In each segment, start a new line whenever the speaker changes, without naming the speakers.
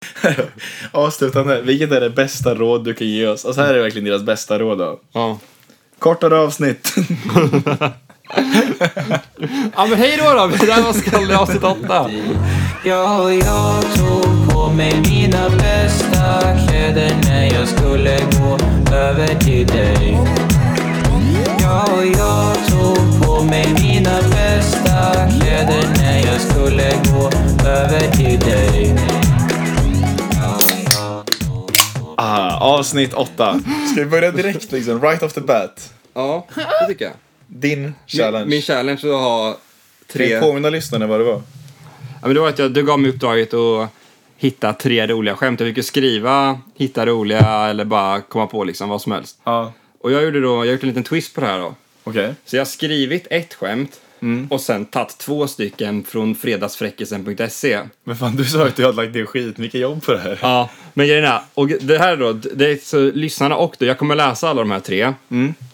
Avslutande, vilket är det bästa råd du kan ge oss? Alltså här är verkligen deras bästa råd då.
Ja.
Kortare avsnitt.
ja men hej då då! Det där var Skalle avsnitt 8.
Ja, och jag tog på mig mina bästa kläder när jag skulle gå över till dig. Ja, och jag tog på mig mina bästa kläder när jag skulle gå över till dig. Ja, och jag tog på
Ah, avsnitt åtta. Ska vi börja direkt liksom, right off the bat?
Ja, det tycker jag.
Din
Min,
challenge.
min challenge var att ha
Kan
tre...
vi
Ja,
påminna lyssnarna vad det var?
men det var att jag, du gav mig uppdraget att hitta tre roliga skämt. Jag fick ju skriva, hitta roliga eller bara komma på liksom vad som helst.
Ja.
Och jag gjorde då, jag har gjort en liten twist på det här då.
Okej.
Så jag har skrivit ett skämt och sen tagit två stycken från fredagsfräckisen.se.
Men fan, du sa att du hade lagt ner skitmycket jobb på det här.
Ja, men grejen är, och det här då, det är så lyssnarna och du, jag kommer läsa alla de här tre.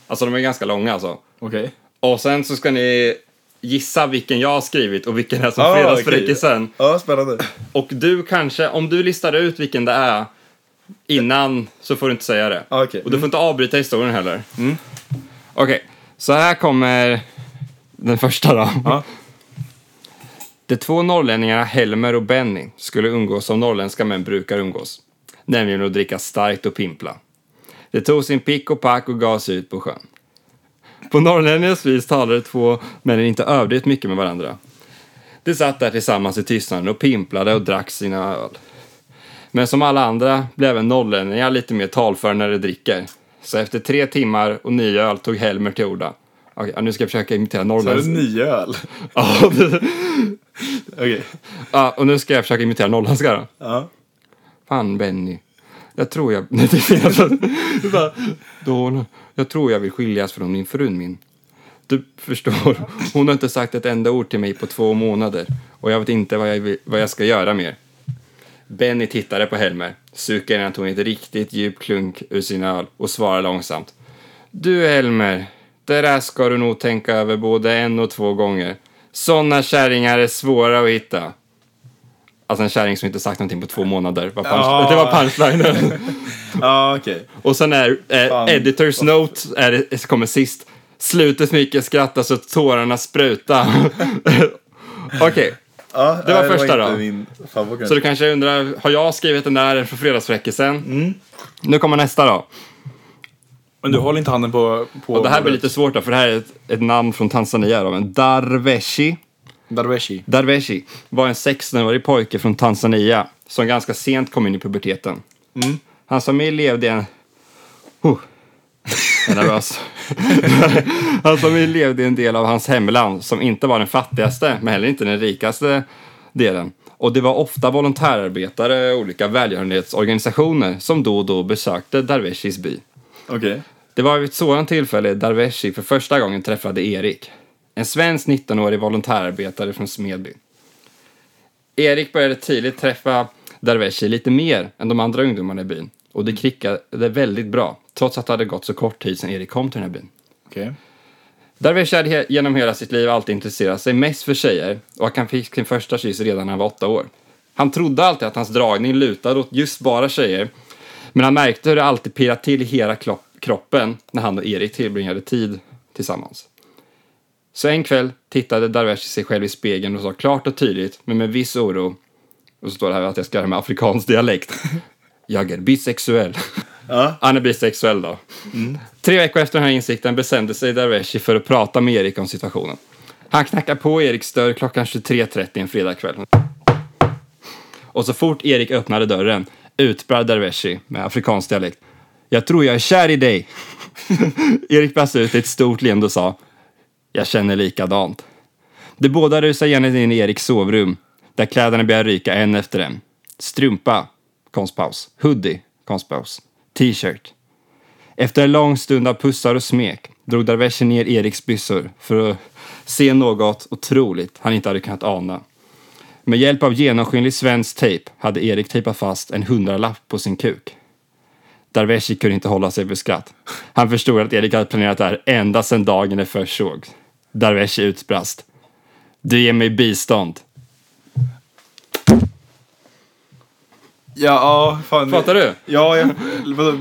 Alltså de är ganska långa alltså.
Okej.
Och sen så ska ni gissa vilken jag har skrivit och vilken är som
Ah,
fredagsfräckisen.
Ja, spännande.
Och du kanske, om du listar ut vilken det är innan så får du inte säga det.
Ah, okej.
Och du får inte avbryta historien heller. Mm. Okej, så här kommer den första då.
Ja.
De två norrlänningarna Helmer och Benny skulle umgås som norrländska män brukar umgås. Nämligen att dricka starkt och pimpla. De tog sin pick och pack och gav sig ut på sjön. På norrlänningens vis talade två männen inte överdrivet mycket med varandra. De satt där tillsammans i tystnaden och pimplade och drack sina öl. Men som alla andra blev även norrlänningar lite mer talföra när de dricker. Så efter tre timmar och nio öl tog Helmer till orda. Okej, ja, nu ska jag försöka imitera
Så är det
norrländsk.
nio öl.
Ja, det-
Okej.
ja, och nu ska jag försöka imitera norrländska då.
Ja.
Fan Benny. Jag tror jag... Nej, det är fel. Det är bara, Då, jag tror jag vill skiljas från min fru min. Du förstår, hon har inte sagt ett enda ord till mig på två månader och jag vet inte vad jag, vill, vad jag ska göra mer. Benny tittade på Helmer, suckade innan han tog en riktigt djup klunk ur sin öl och svarade långsamt. Du Helmer, det där ska du nog tänka över både en och två gånger. Såna kärringar är svåra att hitta. Alltså en kärring som inte sagt någonting på två månader. Var punch,
Ja.
Det var punchlinen.
Ja, Ah, okej.
Och sen är
Fan.
eh, Editors Note är, det- kommer sist. Slutet mycket skrattar så tårarna spruta. Okej,
Ja,
Det var
nej,
första
Ah, inte
då.
Min
så
favorit.
du kanske undrar, har jag skrivit den där för fredagsfräckisen? Nu kommer nästa då.
Men du håller inte handen på... på
Och det här blir lite svårt då, för det här är ett, ett namn från Tanzania då, men Darveshi.
Darweshi.
Darveshi var en 16-årig pojke från Tanzania som ganska sent kom in i puberteten. Hans familj levde i en... Oh, jag är nervös. Hans familj levde i en del av hans hemland som inte var den fattigaste, men heller inte den rikaste delen. Och det var ofta volontärarbetare och olika välgörenhetsorganisationer som då och då besökte Darveshis by.
Okej.
Det var vid ett sådant tillfälle Darveshi för första gången träffade Erik, en svensk 19-årig volontärarbetare från Smedby. Erik började tidigt träffa Darveshi lite mer än de andra ungdomarna i byn och det klickade väldigt bra, trots att det hade gått så kort tid sedan Erik kom till den här byn.
Okej.
Darwish hade he- genom hela sitt liv alltid intresserat sig mest för tjejer och han fick sin första kyss redan när han var åtta år. Han trodde alltid att hans dragning lutade åt just bara tjejer, men han märkte hur det alltid pirrade till i hela klo- kroppen när han och Erik tillbringade tid tillsammans. Så en kväll tittade Darwish sig själv i spegeln och sa klart och tydligt, men med viss oro, och så står det här att jag ska göra med afrikansk dialekt, jag är bisexuell.
Ja.
Han är bisexuell då. Tre veckor efter den här insikten bestämde sig Darveshi för att prata med Erik om situationen. Han knackar på Eriks dörr klockan 23.30 en fredagkväll. Och så fort Erik öppnade dörren utbrast Darveshi med afrikansk dialekt. Jag tror jag är kär i dig. Erik brast ut i ett stort leende och sa. Jag känner likadant. De båda rusar genast in i Eriks sovrum, där kläderna börjar ryka en efter en. Strumpa, konstpaus. Hoodie, konstpaus. T-shirt. Efter en lång stund av pussar och smek drog Darveshi ner Eriks byssor för att se något otroligt han inte hade kunnat ana. Med hjälp av genomskinlig svensk tejp hade Erik tejpat fast en hundralapp på sin kuk. Darveshi kunde inte hålla sig för skratt. Han förstod att Erik hade planerat det här ända sedan dagen det först såg. Darveshi utbrast. Du ger mig bistånd.
Ja, ja, fan.
Fattar du?
Ja, jag, vadå?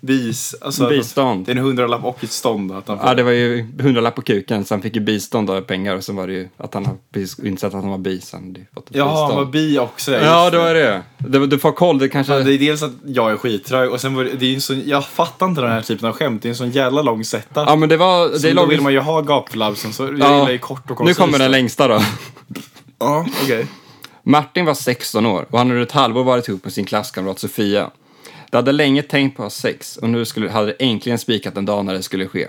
Bis. Alltså,
Bistånd.
Det är en hundralapp och ett stånd att han får.
Ja, det var ju hundralapp på kuken, så han fick ju bistånd av pengar och sen var det ju att han har precis insett att han var bi, så han hade ju fått ett
Jaha, han
bistånd.
var bi också.
ja,
just
det var det. Du, du får koll, det kanske...
Ja, Det är dels att jag är skittrög och sen var det, det är ju en sån, jag fattar inte den här typen av skämt. Det är en sån jävla lång setup.
Ja, men det var... Det
Så
är
då
lång...
vill man ju ha gaplabsen så jag
Ja.
gillar ju kort och
Nu
koncist.
kommer den längsta då.
Ja, okej.
Martin var 16 år och han hade ett halvår varit ihop med sin klasskamrat Sofia. De hade länge tänkt på att ha sex och nu skulle, hade det äntligen spikat en dag när det skulle ske.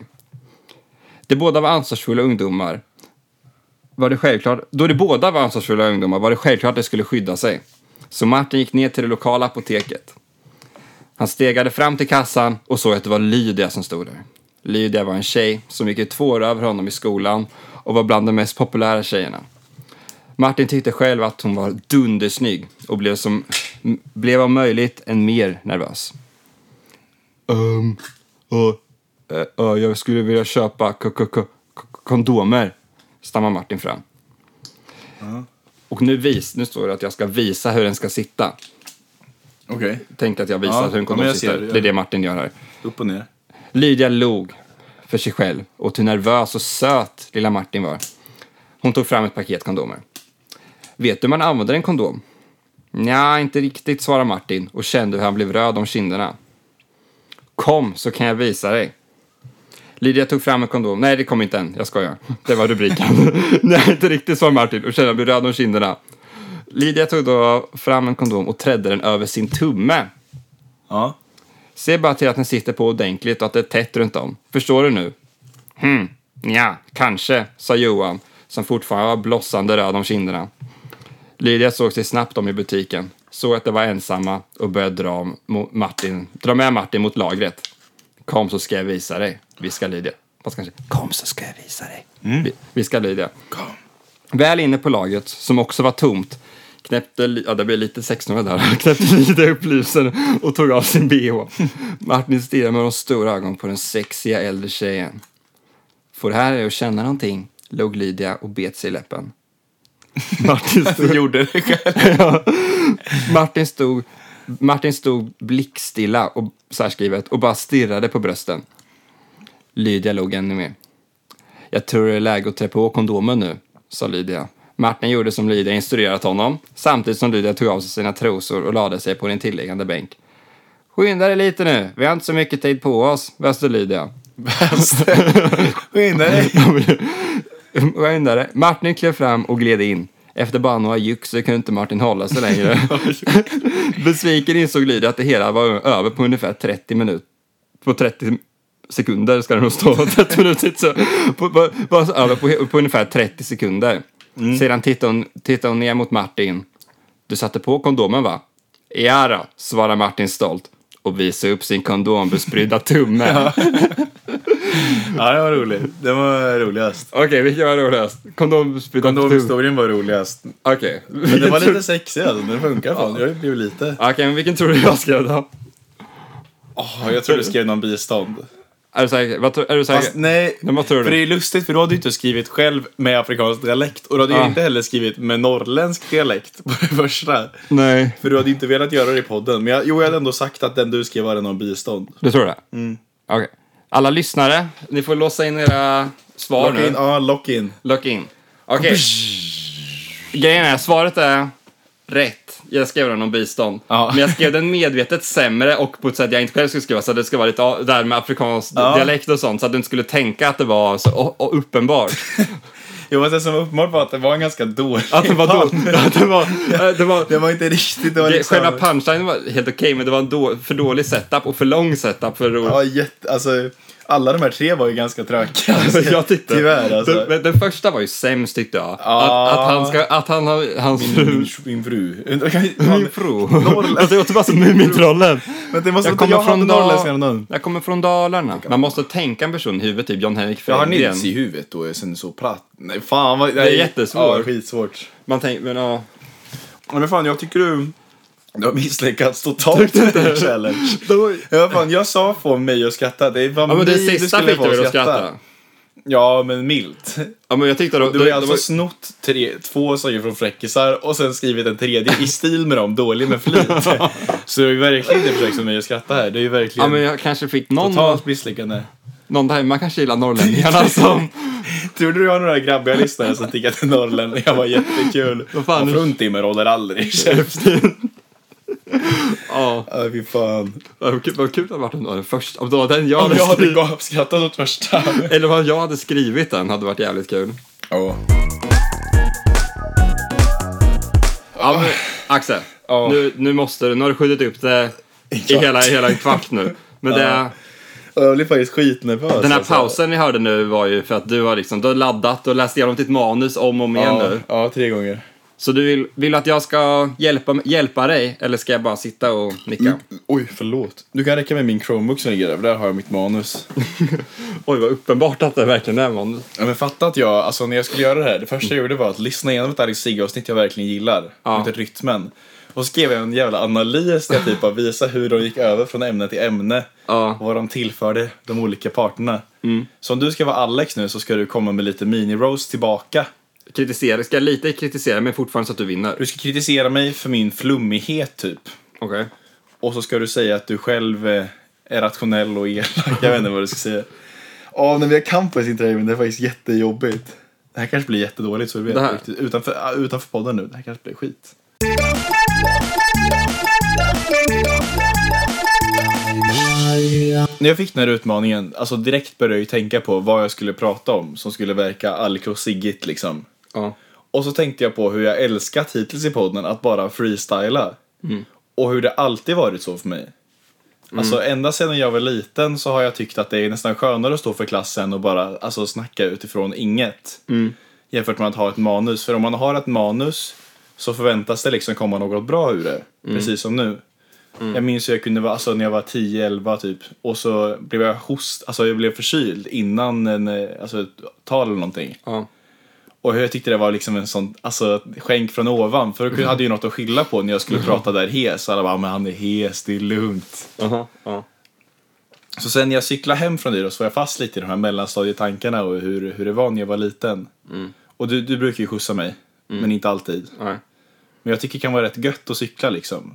De båda var ansvarsfulla ungdomar. Var det självklart, då de båda var ansvarsfulla ungdomar var det självklart att de skulle skydda sig. Så Martin gick ner till det lokala apoteket. Han stegade fram till kassan och såg att det var Lydia som stod där. Lydia var en tjej som gick i två år över honom i skolan och var bland de mest populära tjejerna. Martin tyckte själv att hon var dundersnygg och blev, som, m- blev om möjligt än mer nervös. Um, jag skulle vilja köpa k- k- k- k- kondomer, stammar Martin fram. Och nu, vis, nu står det att jag ska visa hur den ska sitta.
Okej.
Tänk att jag visar
Ja,
hur en
ja, men
kondom
jag
sitter.
ser det, ja.
Det är det Martin gör här.
Upp och ner.
Lydia log för sig själv åt hur nervös och söt lilla Martin var. Hon tog fram ett paket kondomer. Vet du hur man använder en kondom? Nja, inte riktigt, svarade Martin och kände hur han blev röd om kinderna. Kom så kan jag visa dig. Lydia tog fram en kondom. Nej, det kom inte än. Jag skojar. Det var rubriken. Nej, inte riktigt, svarade Martin och kände hur han blev röd om kinderna. Lydia tog då fram en kondom och trädde den över sin tumme
Ja.
Se bara till att den sitter på ordentligt och att det är tätt runt om. Förstår du nu? Hmm, ja, kanske, sa Johan, som fortfarande var blossande röd om kinderna. Lydia såg sig snabbt om i butiken, såg att de var ensamma och började dra, om mot Martin, dra med Martin mot lagret. Kom så ska jag visa dig, viskar Lydia. Fast kanske, kom så ska jag visa dig, vi- viskar Lydia. Väl inne på lagret, som också var tomt, knäppte, Li- ja det blir lite sexnummer där, knäppte Lydia upp lysen och tog av sin bh. Martin stirrade med de stora ögonen på den sexiga äldre tjejen. Får det här är att känna någonting, log Lydia och bet sig i läppen. Martin stod,
Du gjorde det själv.
Martin stod, Martin stod blickstilla och särskrivet och bara stirrade på brösten. Lydia log ännu mer. Jag tror det är läge att trä på kondomen nu, sa Lydia. Martin gjorde som Lydia instruerat honom, samtidigt som Lydia tog av sig sina trosor och lade sig på den tilliggande bänk. Skynda dig lite nu, vi har inte så mycket tid på oss, väste Lydia.
Skynda dig.
Skynda dig. Martin klev fram och gled in. Efter bara några juxor kunde inte Martin hålla sig längre. Besviken insåg Lydia att det hela var över på ungefär 30 minuter. På 30 sekunder ska det nog stå. 30 minuter. Så, på, på, var så över på, på ungefär 30 sekunder.
Mm.
Sedan tittade hon, tittade hon ner mot Martin. Du satte på kondomen va? Ja då, svarade Martin stolt och visade upp sin kondombesprydda tumme.
Ja, det var roligt. Det var roligast.
Okej, vilken var roligast? Kondombesprydda tumme.
Kondomhistorien var roligast.
Okej.
Men det var lite sexig alltså. Den funkar fan. Jag blev lite...
Okej, men vilken tror du jag skrev då?
Oh, jag tror du skrev någon bistånd.
Är du säker? Vad tror- är du säker?
Fast nej.
Men vad tror du?
För det är lustigt för då hade du inte skrivit själv med afrikansk dialekt. Och då hade
Ah.
jag inte heller skrivit med norrländsk dialekt på det första.
Nej.
För du hade inte velat göra det i podden. Men jag, jo, jag hade ändå sagt att den du skrev var den om bistånd.
Du tror det? Mm. Okej. Alla lyssnare, ni får låsa in era svar
Lock
nu.
in, ja, lock in.
Lock in. Okej. Grejen är, svaret är rätt. Jag skrev den om bistånd.
Ja.
Men jag skrev den medvetet sämre och på ett sätt jag inte själv skulle skriva. Så att det ska vara lite a- där med afrikansk
Ja.
dialekt och sånt. Så att du inte skulle tänka att det var så o- o- uppenbart.
Jo, men det som var uppenbart var att det var en ganska dålig
Att det var då. Att det var... Att det var
Det var inte riktigt, det var
Det,
liksom...
själva punchlinen var helt okej, men det var en då, för dålig setup och för lång setup för roligt.
Ja, jätte, alltså, alla de här tre var ju ganska trökiga. Alltså,
jag tyckte,
Tyvärr alltså.
den, men den första var ju sämst tyckte jag.
Ja.
Att, att han ska, att han har, hans fru.
Min, min fru.
Min
Fan,
fru.
Norrland.
Alltså, det låter bara som Mumintrollen.
Men det måste
Jag
jag Alltså, inte
kommer
jag
från,
från norrländska
Dal-
namn.
jag kommer från Dalarna. Man måste tänka en person i huvudet, typ Jan-Henrik
Jag har
Fjällgren.
Nils i huvudet och är sen så platt. Nej, fan vad...
är jättesvårt.
Ja, skitsvårt.
Man tänker, men ja.
Men fan, jag tycker du... Du har misslyckats totalt med den här challenge. Ja, fan, jag sa få mig att skratta. Det var
Ja, men
mig
den
du
sista
skulle
fick
få
du att skratta.
Ja, men milt.
Ja, men jag tyckte då,
Du har ju alltså snott tre, två sånger från fräckisar och sen skrivit en tredje i stil med dem, dålig med flit. Så det är ju verkligen inte försök som mig att skratta här. Det är ju
ja,
verkligen
men jag kanske fick någon,
totalt misslyckande.
någon där man kanske gillar norrlänningarna som...
Tror du jag har några grabbiga lyssnare som tycker att norrlänningar var jättekul?
Vad fan?
Och fruntimmer håller aldrig.
Ja,
Ja, fy fan.
vad kul, vad kul att det varit om det var den första. Om det var den jag
Om
hade
jag hade
skrivit,
gapskrattat åt första.
eller vad jag hade skrivit den hade varit jävligt kul.
Ja.
Ja, men, Axel,
Ja.
nu, nu måste du, nu har du skjutit upp det i
Ja.
hela, hela en kvart nu. Men det,
Jag blir faktiskt skitnervös.
den här
alltså.
pausen ni hörde nu var ju för att du har liksom, du har laddat och läst igenom ditt manus om och om igen
Ja,
nu.
ja, tre gånger.
Så du vill, vill att jag ska hjälpa, hjälpa dig eller ska jag bara sitta och nicka?
Oj, förlåt. Du kan räcka med min Chromebook som ligger där, för där har jag mitt manus.
Oj, vad uppenbart att det verkligen är manus.
Ja, men fatta att jag, alltså när jag skulle göra det här, det första jag gjorde var att lyssna igenom ett Alex Sigge-avsnitt jag verkligen gillar,
Ja.
inte rytmen. Och så skrev jag en jävla analys där jag typ bara visade hur de gick över från ämne till ämne.
Ja.
Och vad de tillförde de olika parterna. Så om du ska vara Alex nu så ska du komma med lite mini-rose tillbaka.
Kritisera, ska jag lite kritisera men fortfarande så att du vinner?
Du ska kritisera mig för min flummighet typ.
Okej.
Och så ska du säga att du själv eh, är rationell och elak. Jag vet inte vad du ska säga. Ja, men vi har campus inte men det är faktiskt jättejobbigt. Det här kanske blir jättedåligt så du vet.
Det här?
riktigt. Utanför, ah, utanför podden nu, det här kanske blir skit. När jag fick den här utmaningen, alltså direkt började jag ju tänka på vad jag skulle prata om som skulle verka alko siggigt liksom.
Ja.
Och så tänkte jag på hur jag älskat hittills i podden att bara freestyla. Och hur det alltid varit så för mig. Alltså ända sedan jag var liten så har jag tyckt att det är nästan skönare att stå för klassen och bara alltså, snacka utifrån inget. Jämfört med att ha ett manus. För om man har ett manus så förväntas det liksom komma något bra ur det. Precis som nu. Jag minns hur jag kunde vara, alltså när jag var 10-11 typ. Och så blev jag host, alltså jag blev förkyld innan en, eh, alltså ett tal eller någonting.
ja.
Och jag tyckte det var liksom en sån alltså, skänk från ovan. För jag hade ju något att skylla på när jag skulle prata där hes. Alla bara, men han är hes, det är lugnt.
Aha, ja.
Så sen när jag cyklade hem från det då så var jag fast lite i de här mellanstadietankarna och hur, hur det var när jag var liten. Och du, du brukar ju skjutsa mig, men inte alltid.
Nej.
Men jag tycker det kan vara rätt gött att cykla liksom.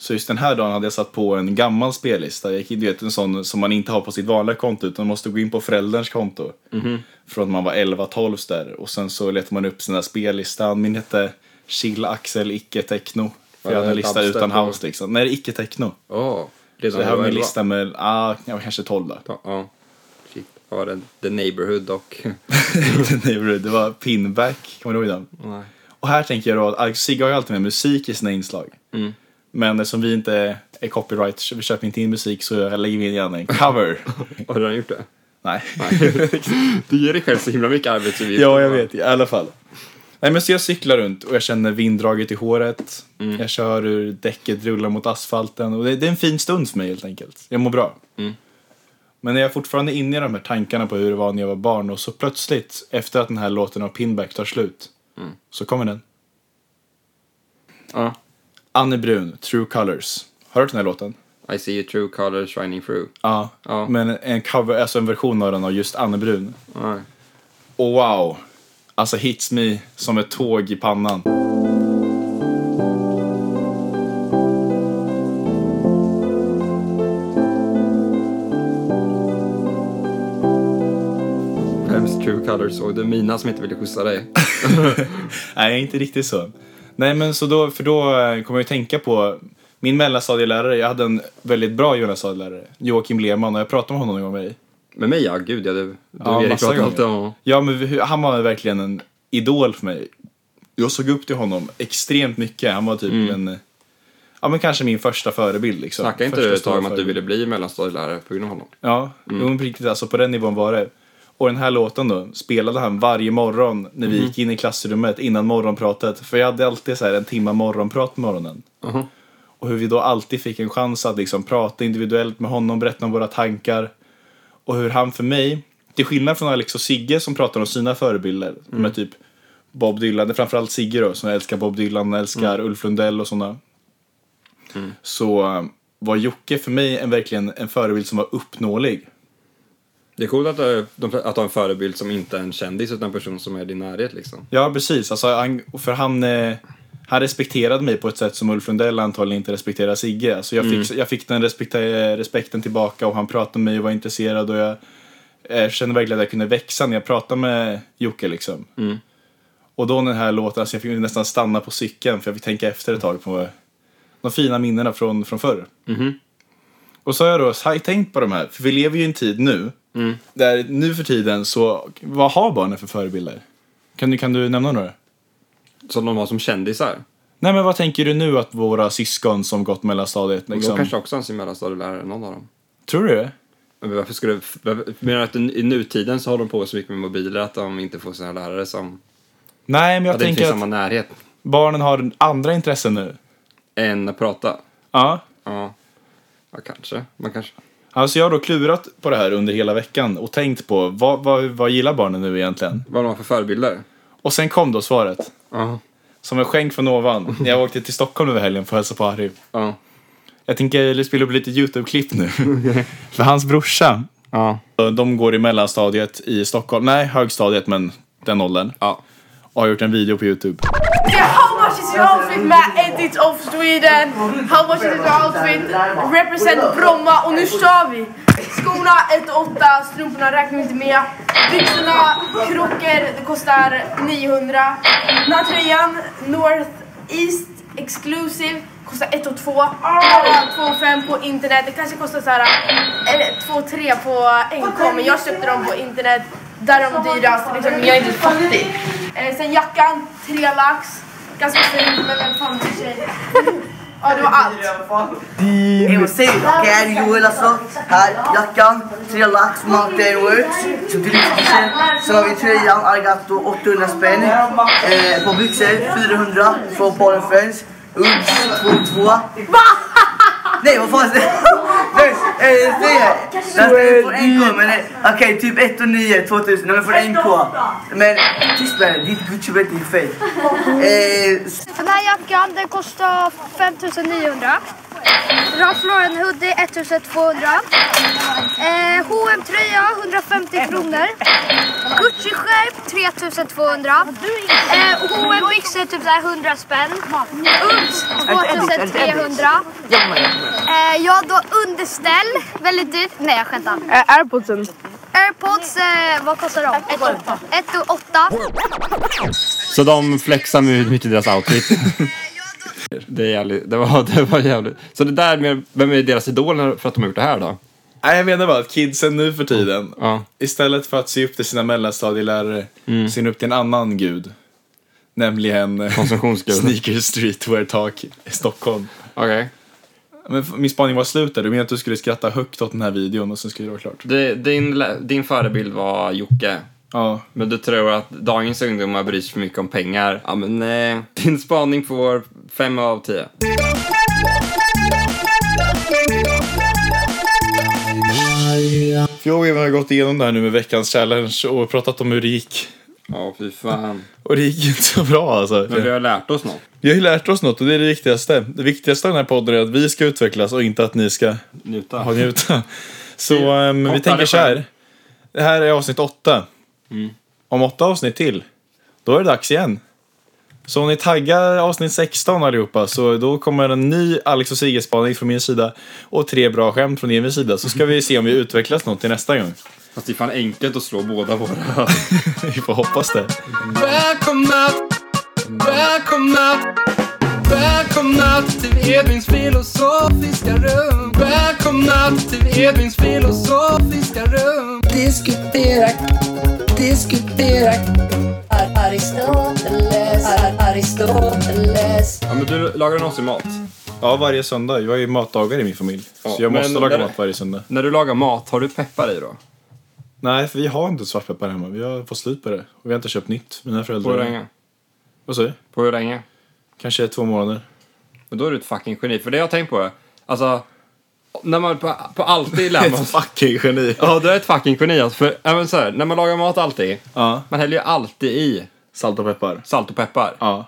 Så just den här dagen hade jag satt på en gammal spellista. Jag gick, du vet en sån som man inte har på sitt vanliga konto utan måste gå in på förälderns konto.
Mhm.
Från man var 11-12 där. Och sen så letar man upp sina spellistan. Min hette Chill Axel Icke Techno. För
Ja,
jag hade en lista
dubstep
utan
och-
house liksom. Nej, det är Icke Techno.
Åh,
Så
redan
det här
när
var min
du elva.
lista med, ah, jag var kanske 12 då.
Ja, ja. Shit, vad var det? The Neighborhood och...
det var Pinback, kommer du ihåg den?
Nej.
Och här tänker jag då att Alex och Sigge har ju alltid med musik i sina inslag. Men eftersom vi inte är copyright, vi köper inte in musik så lägger vi in gärna en cover.
Har du redan gjort det?
Nej.
Du ger dig själv så himla mycket arbetsuppgifter.
ja, jag vet. I alla fall. Nej, men så jag cyklar runt och jag känner vinddraget i håret. Jag kör hur däcket rullar mot asfalten. Och det, det är en fin stund för mig helt enkelt. Jag mår bra. Men jag är fortfarande inne i de här tankarna på hur det var när jag var barn och så plötsligt, efter att den här låten av Pinback tar slut, så kommer den.
Ja.
Anne Brun, True Colors. Har du hört den här låten?
I see your true color shining through.
Ja.
Ja.
Men en, cover, alltså en version av den av just Anne Brun.
Nej.
Och wow! Alltså hits me som ett tåg i pannan.
Vems true color såg du? Mina som inte ville skjutsa dig.
Nej, inte riktigt så. Nej, men så då, för då eh, kom jag att tänka på min mellanstadielärare. Jag hade en väldigt bra mellanstadielärare, Joakim Lehmann, och jag pratade med honom en gång med dig.
Med mig ja, gud ja. Du, du
Ja,
och Erik
massa
pratade
gånger.
alltid om...
Ja, men hur- han var verkligen en idol för mig. Jag såg upp till honom extremt mycket. Han var typ en, ja men kanske min första förebild liksom.
Snackade Mm.
första
inte du ett tag om
stora
att du
förebild.
ville bli mellanstadielärare på grund av honom?
Ja, jo, men på riktigt alltså på den nivån var det. Och den här låten då spelade han varje morgon när vi gick in i klassrummet innan morgonpratet. För jag hade alltid så här en timma morgonprat på morgonen.
Mhm.
Och hur vi då alltid fick en chans att liksom prata individuellt med honom, berätta om våra tankar. Och hur han för mig, till skillnad från Alex och Sigge som pratar om sina förebilder, de är typ Bob Dylan, det är framförallt Sigge då, som jag älskar Bob Dylan, jag älskar Ulf Lundell och sådana. Så eh, var Jocke för mig en, verkligen en förebild som var uppnåelig.
Det är coolt att, eh, de, att ha en förebild som inte är en kändis utan en person som är i din närhet liksom.
Ja, precis. Alltså, han, för han, eh, han respekterade mig på ett sätt som Ulf Lundell antagligen inte respekterar Sigge. Alltså, jag, fick, jag fick den respekta- respekten tillbaka och han pratade med mig och var intresserad och jag eh, kände verkligen att jag kunde växa när jag pratade med Jocke. Liksom. Och då den här låten, alltså, jag fick nästan stanna på cykeln för jag fick tänka efter ett tag på de fina minnena från, från förr. Och så har jag då så har jag tänkt på de här, för vi lever ju i en tid nu där nu för tiden så, vad har barnen för förebilder? Kan du, kan du nämna några?
Som de har som kändisar.
Nej men vad tänker du nu att våra syskon som gått mellanstadiet
Liksom.
liksom?
De kanske också har en sin mellanstadielärare, någon av dem.
Tror du det?
Men varför skulle, varför- menar du att i nutiden så har de på så mycket med mobiler att de inte får sina lärare som...
Nej men jag
Att det inte
tänker
finns
att
samma närhet
barnen har andra intressen nu.
än att prata.
Ja.
Ja, ja kanske. Man kanske.
Alltså jag har då klurat på det här under hela veckan och tänkt på vad, vad, vad gillar barnen nu egentligen?
Vad de har för förebilder.
Och sen kom då svaret.
Ja,
Som en skänk från ovan. När jag åkte till Stockholm över helgen för att hälsa på Harry.
ja,
Jag tänker det spelar upp lite YouTube-klipp nu. för hans brorsa,
ja.
de går i mellanstadiet i Stockholm. Nej, högstadiet men den åldern.
ja.
Och har gjort en video på YouTube.
Yeah, how much is your outfit, Matt? Edit of Sweden. How much is your outfit? Represent Bromma. Och nu kör vi! Skorna 1,8, strumporna räknar vi inte med. Byxorna, krockar, det kostar 900. Den här tröjan, North East Exclusive, kostar 1 och 2. 2 och 5 på internet. Det kanske kostar så här, eller 2 och 3 på NK, men jag köpte dem på internet. Där är de dyrast, liksom, jag är inte fattig. Eh, sen jackan, tre lax. Ganska fint, men vem fan bryr sig? Ja, det var allt.
En gång till. Okej, Joel alltså. Här, jackan, tre lax, Mountain Works. Så drycktischer. Sen har vi tröjan, Argato, 800 spänn. Eh, på byxor, 400 från Paul Friends. Uggs, 22. Nej, vad fan är det? Nej, eh, det är- det är från NK, men eh, okej, typ 1 och 9, 2000. Nej, men från NK. Men tyst med dig, ditt Gucci-bälte är fejk. Eh,
Den här jackan den kostar 5900. Ralph Lauren hoodie 1200. Eh, H&M tröja 150 kronor. Gucci skärp 3200. Eh, H&M byxor typ så här 100 spänn. Uggs 2300. Eh, jag har då underställ, väldigt dyrt. Nej jag skämtar.
Airpodsen.
Airpods, eh, vad kostar de? 1 och 8.
Så de flexar med mitt i deras outfit. det, är jävligt, det, var, det var jävligt. Så det där med, vem är deras idoler för att de har gjort det här då?
Nej, jag menar bara att kidsen nu för tiden,
Ja.
istället för att se upp till sina mellanstadielärare, ser upp till en annan gud. Nämligen eh,
Konsumtionsguden.
Sneaker Streetwear Tak i Stockholm.
Okej.
Men f- min spaning var slut där. Du menar att du skulle skratta högt åt den här videon och sen skulle det vara klart?
Det- Din, lä- din förebild var Jocke.
Ja.
Men du tror att dagens ungdomar bryr sig för mycket om pengar. Ja men eh, din spaning får 5 av 10.
För jag och Eva har gått igenom det här nu med veckans challenge och pratat om hur det gick.
Ja fy fan.
Och det gick inte så bra alltså.
Men vi har lärt oss något.
Vi har ju lärt oss något och det är det viktigaste. Det viktigaste i den här podden är att vi ska utvecklas och inte att ni ska
Njuta.
ha njuta. Så ehm, vi
Åtta
tänker så här.
lektioner.
Det här är avsnitt åtta.
Mm.
Om åtta avsnitt till, då är det dags igen. Så om ni taggar avsnitt 16 allihopa, så då kommer en ny Alex och Sigge-spaning från min sida och tre bra skämt från Emils sida. Så ska vi se om vi utvecklas något till nästa gång.
Fast det är fan enkelt att slå båda våra.
vi får hoppas det.
Välkomna! Välkomna! Välkomna till Edvins filosofiska rum. Välkomna till Edvins filosofiska rum.
diskutera, diskutera. Ar- Aristoteles, Ar- Aristoteles.
Ja, men du lagar någonsin mat.
Ja, varje söndag. Jag är ju matdagare i min familj.
Ja,
så jag
men
måste laga
när-
mat varje söndag.
När du lagar mat, har du peppar i då?
Nej, för vi har inte svartpeppar hemma. Vi har fått slut på det. Och vi har inte köpt nytt. Mina
På hur
föräldrar...
länge?
Vad sa du?
På hur länge?
Kanske två månader.
Men då är du ett fucking geni. För det jag har tänkt på är, alltså, när man på, på alltid lär man sig...
fucking geni.
Ja, du är ett fucking geni alltså. För, ja, men så här, när man lagar mat alltid,
Ja.
man häller ju alltid i
Salt och peppar.
salt och peppar.
Ja.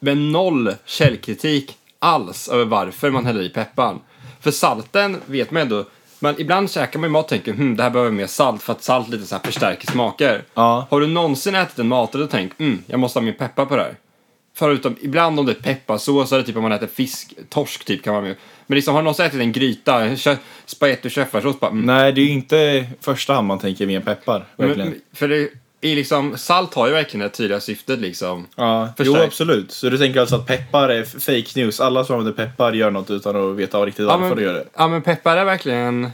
med noll källkritik alls över varför man häller i pepparn. För salten vet man ändå, Men ibland käkar man ju mat och tänker hm, det här behöver mer salt för att salt lite så här förstärker smaker.
Ja.
Har du någonsin ätit en maträtt och tänkt mm, jag måste ha min peppar på det här? Förutom ibland om det är pepparsås eller typ om man äter fisk, torsk typ kan man ju. Men liksom har du någonsin ätit en gryta, kö- spagetti och köttfärssås bara mm.
Nej, det är ju inte första hand man tänker med en peppar.
Men,
Verkligen.
men- för det är liksom, salt har ju verkligen det tydliga syftet liksom.
ja, jo,
förstärk.
absolut. Så du tänker alltså att peppar är f- fake news? Alla som använder peppar gör något utan att veta riktigt varför
men,
de gör det.
ja men peppar är verkligen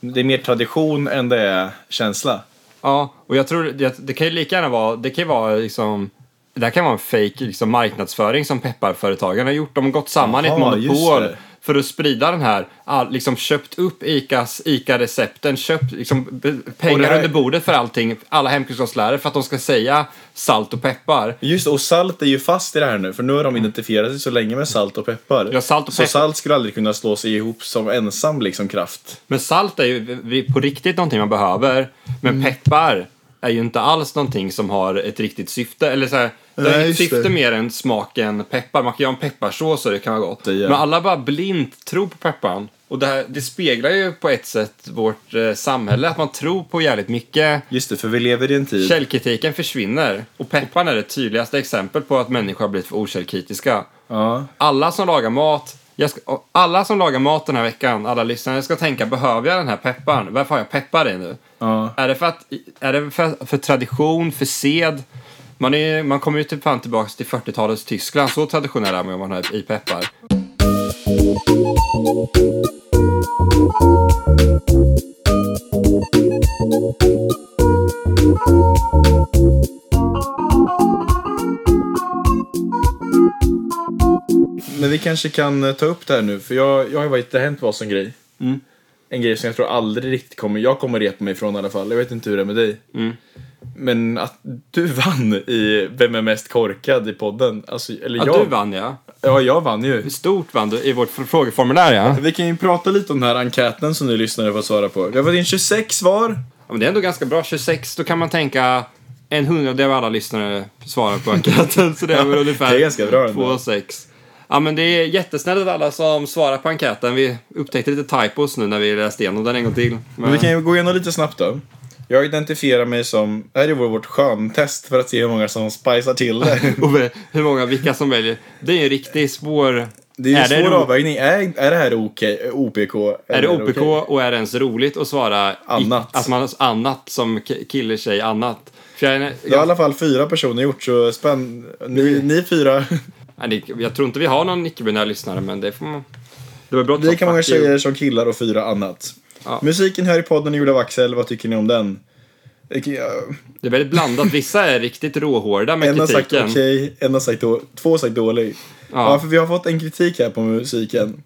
Det är mer tradition än det är känsla.
Ja, och jag tror det, det kan ju lika gärna vara, det kan ju vara liksom det här kan vara en fake liksom, marknadsföring som pepparföretagen har gjort. De har gått samman i ett
Jaha, just
monopol
det.
för att sprida den här, all, liksom köpt upp ICAs ICA-recepten, köpt liksom, be-
Och det
pengar
här-
under bordet för allting, alla hemkunskapslärare för att de ska säga salt och peppar.
Just det, och salt är ju fast i det här nu, för nu har de identifierat sig så länge med salt och peppar.
Mm. Ja, salt och
så
peppar.
salt skulle aldrig kunna slå sig ihop som ensam liksom kraft.
Men salt är ju vi- på riktigt någonting man behöver, men
Mm.
peppar är ju inte alls någonting som har ett riktigt syfte. Eller så här, det
Nej,
är ett
just
syfte
det.
mer än smaken peppar. Man kan göra en pepparsås och det kan vara gott.
Det gör.
Men alla bara blint tror på pepparn. Och det, här, det speglar ju på ett sätt vårt eh, samhälle, att man tror på jävligt mycket.
Just det, för vi lever i en tid...
Källkritiken försvinner. Och pepparn är det tydligaste exempel på att människor har blivit för okällkritiska.
Ja.
Alla som lagar mat, jag ska, alla som lagar mat den här veckan, alla lyssnare, ska tänka behöver jag den här pepparn? Varför har jag peppar i nu?
Ja.
Är det, för, att, är det för, för tradition, för sed? Man, är, man kommer ju typ fan tillbaka till 40-talets Tyskland, så traditionell är man ju om man har i peppar.
Men vi kanske kan eh, ta upp det här nu, för jag, jag har ju varit, det har hänt vad som grej.
Mm.
En grej som jag tror aldrig riktigt kommer, jag kommer repa mig ifrån i alla fall. Jag vet inte hur det är med dig.
Mm.
Men att du vann i Vem är mest korkad i podden. Alltså, eller
Ja,
jag,
du vann ja.
Ja, jag vann ju.
Stort vann du i vårt fr- frågeformulär ja.
Vi kan ju prata lite om den här enkäten som ni lyssnare får svara på. Vi har fått in 26 svar.
Ja, men det är ändå ganska bra. 26, då kan man tänka en hundradel av alla lyssnare svarar på enkäten. Så det är väl ungefär
det är ganska bra ändå.
2,6. Ja, men det är jättesnällt att alla som svarar på enkäten. Vi upptäckte lite typos nu när vi läste igenom den en gång till. Men,
Men vi kan ju gå igenom lite snabbt då. Jag identifierar mig som, det här är vår- vårt skön-test för att se hur många som spicar till det.
Ove, hur många, vilka som väljer. Det är ju en riktigt svår...
Det är ju en svår
ro-
avvägning. Är, är det här okej, OPK?
Är det
eller
OPK
okej?
och är det ens roligt att svara i-
Annat.
att man, annat som k- kille, tjej, annat? För jag, är-
Det har i alla fall fyra personer gjort, så spänn... Ni, ni fyra.
Nej, det- jag tror inte vi har någon icke-binär lyssnare, men det får man... Det var bra att ta
Lika många
fuck you.
tjejer som killar och fyra annat.
Ja.
Musiken här i podden är gjord av Axel, vad tycker ni om den? Okej, ja.
Det är väldigt blandat. Vissa är riktigt råhårda med
En har sagt
kritiken.
okej, en har sagt då, två har sagt dålig. Ja.
Ja.
för vi har fått en kritik här på musiken.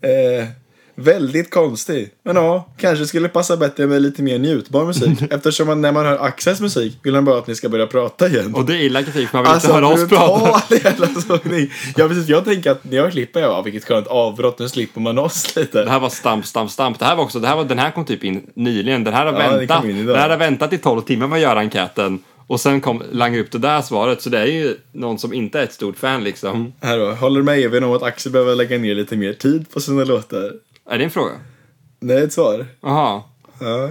Eh, väldigt konstig. Men ja, kanske skulle passa bättre med lite mer njutbar musik. Eftersom man, när man hör Axels musik vill han bara att ni ska börja prata igen.
Och det är illa kritik, för man vill
Alltså,
inte höra oss prata.
brutal jävla sågning. Ja, precis. Jag tänker att när jag klipper, jag bara, vilket skönt avbrott, nu slipper man oss lite.
Det här var stamp, stamp, stamp. Det här var också, det här var, den här kom typ in nyligen. Den här har
den
väntat.
kom in idag.
Den här har väntat i 12 timmar med att göra enkäten. Och sen kom, langar upp det där svaret. Så det är ju någon som inte är ett stort fan liksom.
Här då. Håller med Evin om att Axel behöver lägga ner lite mer tid på sina låtar?
Är det en fråga?
Nej, ett svar.
Jaha.
Ja.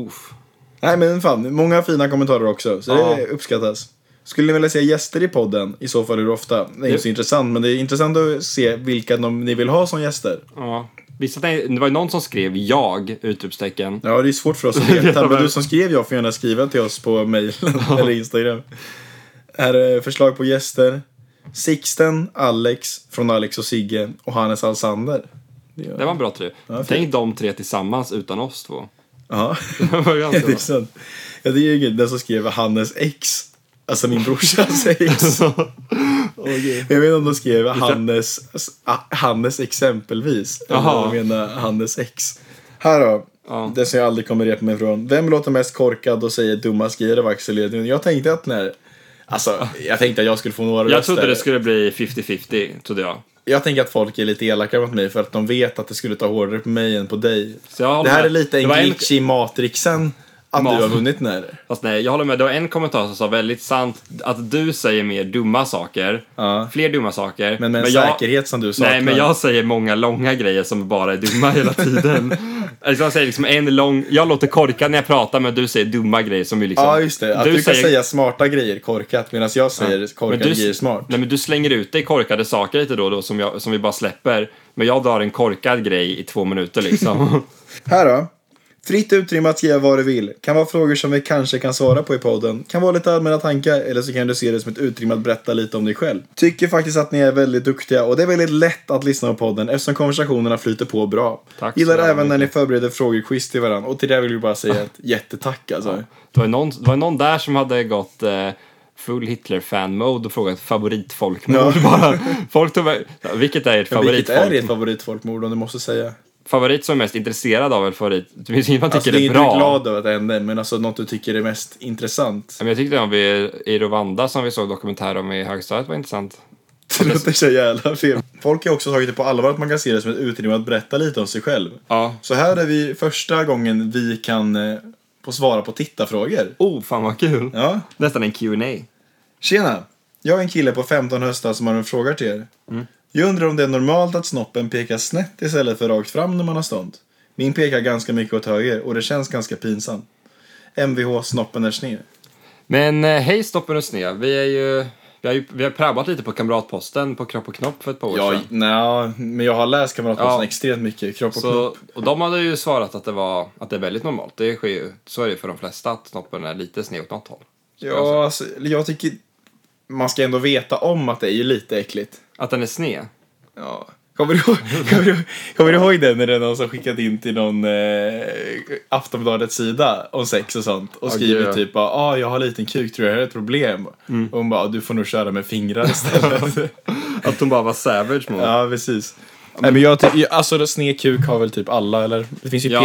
Uff.
Nej, men fan. Många fina kommentarer också, så det
Ja.
uppskattas. Skulle ni vilja se gäster i podden? I så fall hur ofta? Det är inte så intressant, men det är intressant att se vilka de, ni vill ha som gäster.
Ja. Vissa tänkte, det var ju någon som skrev jag! Utropstecken.
Ja, det är svårt för oss att veta, men du som skrev jag får gärna skriva till oss på mejlen eller Instagram. Här är förslag på gäster. Sixten, Alex från Alex och Sigge och Hannes Alsander.
Det var en bra tre. Tänk de tre tillsammans utan oss två.
Ja,
Det var ganska
det är
bra.
sant. Ja, det är ju den som skrev Hannes ex. Alltså min brorsas ex. Jag vet inte om de skrev Hannes, Hannes exempelvis. Eller
Jaha.
om de menar Hannes ex. Här då.
Ja.
Det som jag aldrig kommer repa mig ifrån. Vem låter mest korkad och säger dumma grejer av Axel Edvin? Jag tänkte att när... Alltså, jag tänkte att jag skulle få några
Jag
röster.
trodde det skulle bli 50-50, trodde jag.
Jag tänker att folk är lite elaka mot mig för att de vet att det skulle ta hårdare på mig än på dig.
Så jag
det
håller
här
med.
är lite
Det
en
var en-
glitch i matrixen. Att
Mas-
du har vunnit den här.
Fast nej, jag håller med. Det var en kommentar som sa väldigt sant att du säger mer dumma saker.
Ja.
Fler dumma saker.
Men med en
jag-
säkerhet som du saknar.
Nej, men jag säger många långa grejer som bara är dumma hela tiden. alltså, jag säger liksom en lång... Jag låter korkad när jag pratar, men du säger dumma grejer som är liksom...
Ja, just det. Att du, kan säga smarta grejer korkat medan jag säger
men
korkade
du,
grejer smart.
Nej, men du slänger ut dig korkade saker lite då och då som, jag, som vi bara släpper. Men jag drar en korkad grej i två minuter liksom.
Här då. Fritt utrymme att skriva vad du vill. Kan vara frågor som vi kanske kan svara på i podden. Kan vara lite allmänna tankar eller så kan du se det som ett utrymme att berätta lite om dig själv. Tycker faktiskt att ni är väldigt duktiga och det är väldigt lätt att lyssna på podden eftersom konversationerna flyter på bra.
Tack så
Gillar
jävla
även när ni
mycket.
förbereder frågor och quiz till varandra och till det vill vi bara säga ett jättetack alltså.
det, var ju någon, det var någon där som hade gått eh, full Hitler-fan-mode och frågat favoritfolkmord. Bara, folk tog, vilket är ert
Vilket är
favoritfolk?
ditt favoritfolkmord om du måste säga?
Favorit som är mest intresserad av eller favorit? Det finns inget man tycker
Alltså det är
är
inte
bra.
glad över att det hände men alltså något du tycker är mest intressant.
Ja, Men jag tyckte om vi i Rwanda som vi såg dokumentär om i högstadiet var intressant.
Det låter så jävla fel. Folk har också tagit det på allvar att man kan se det som ett utrymme att berätta lite om sig själv.
Ja.
Så här är vi första gången vi kan eh, få svara på tittarfrågor.
Oh, fan vad kul!
Ja.
Nästan en Q&A.
Tjena! Jag är en kille på 15 höstar som har en fråga till er. Jag undrar om det är normalt att snoppen pekar snett istället för rakt fram när man har stånd. Min pekar ganska mycket åt höger och det känns ganska pinsamt. Mvh snoppen är sned.
Men eh, hej Stoppen och Snea, vi är ju... Vi har, ju, vi har prabbat lite på Kamratposten på Kropp och Knopp för ett par år
Ja,
sedan.
nej, men jag har läst Kamratposten
Ja.
extremt mycket. Kropp och knopp.
Så, och de hade ju svarat att det, var, att det är väldigt normalt. Det sker ju, så är det ju för de flesta, att snoppen är lite sned åt något håll.
Ja, alltså, jag tycker man ska ändå veta om att det är ju lite äckligt.
Att den är sned.
Ja. Kommer du, ihåg- kommer, du, kommer du ihåg det när det är någon som skickat in till någon eh, Aftonbladets sida om sex och sånt och skriver
gud. Mm.
typ ja ah, jag har liten kuk tror jag det är ett problem. Och hon bara "Ah, du får nog köra med fingrar istället.
Att hon bara var savage mot
ja precis. Nej men jag tycker, alltså sned kuk har väl typ alla eller? Det finns ju
Ja.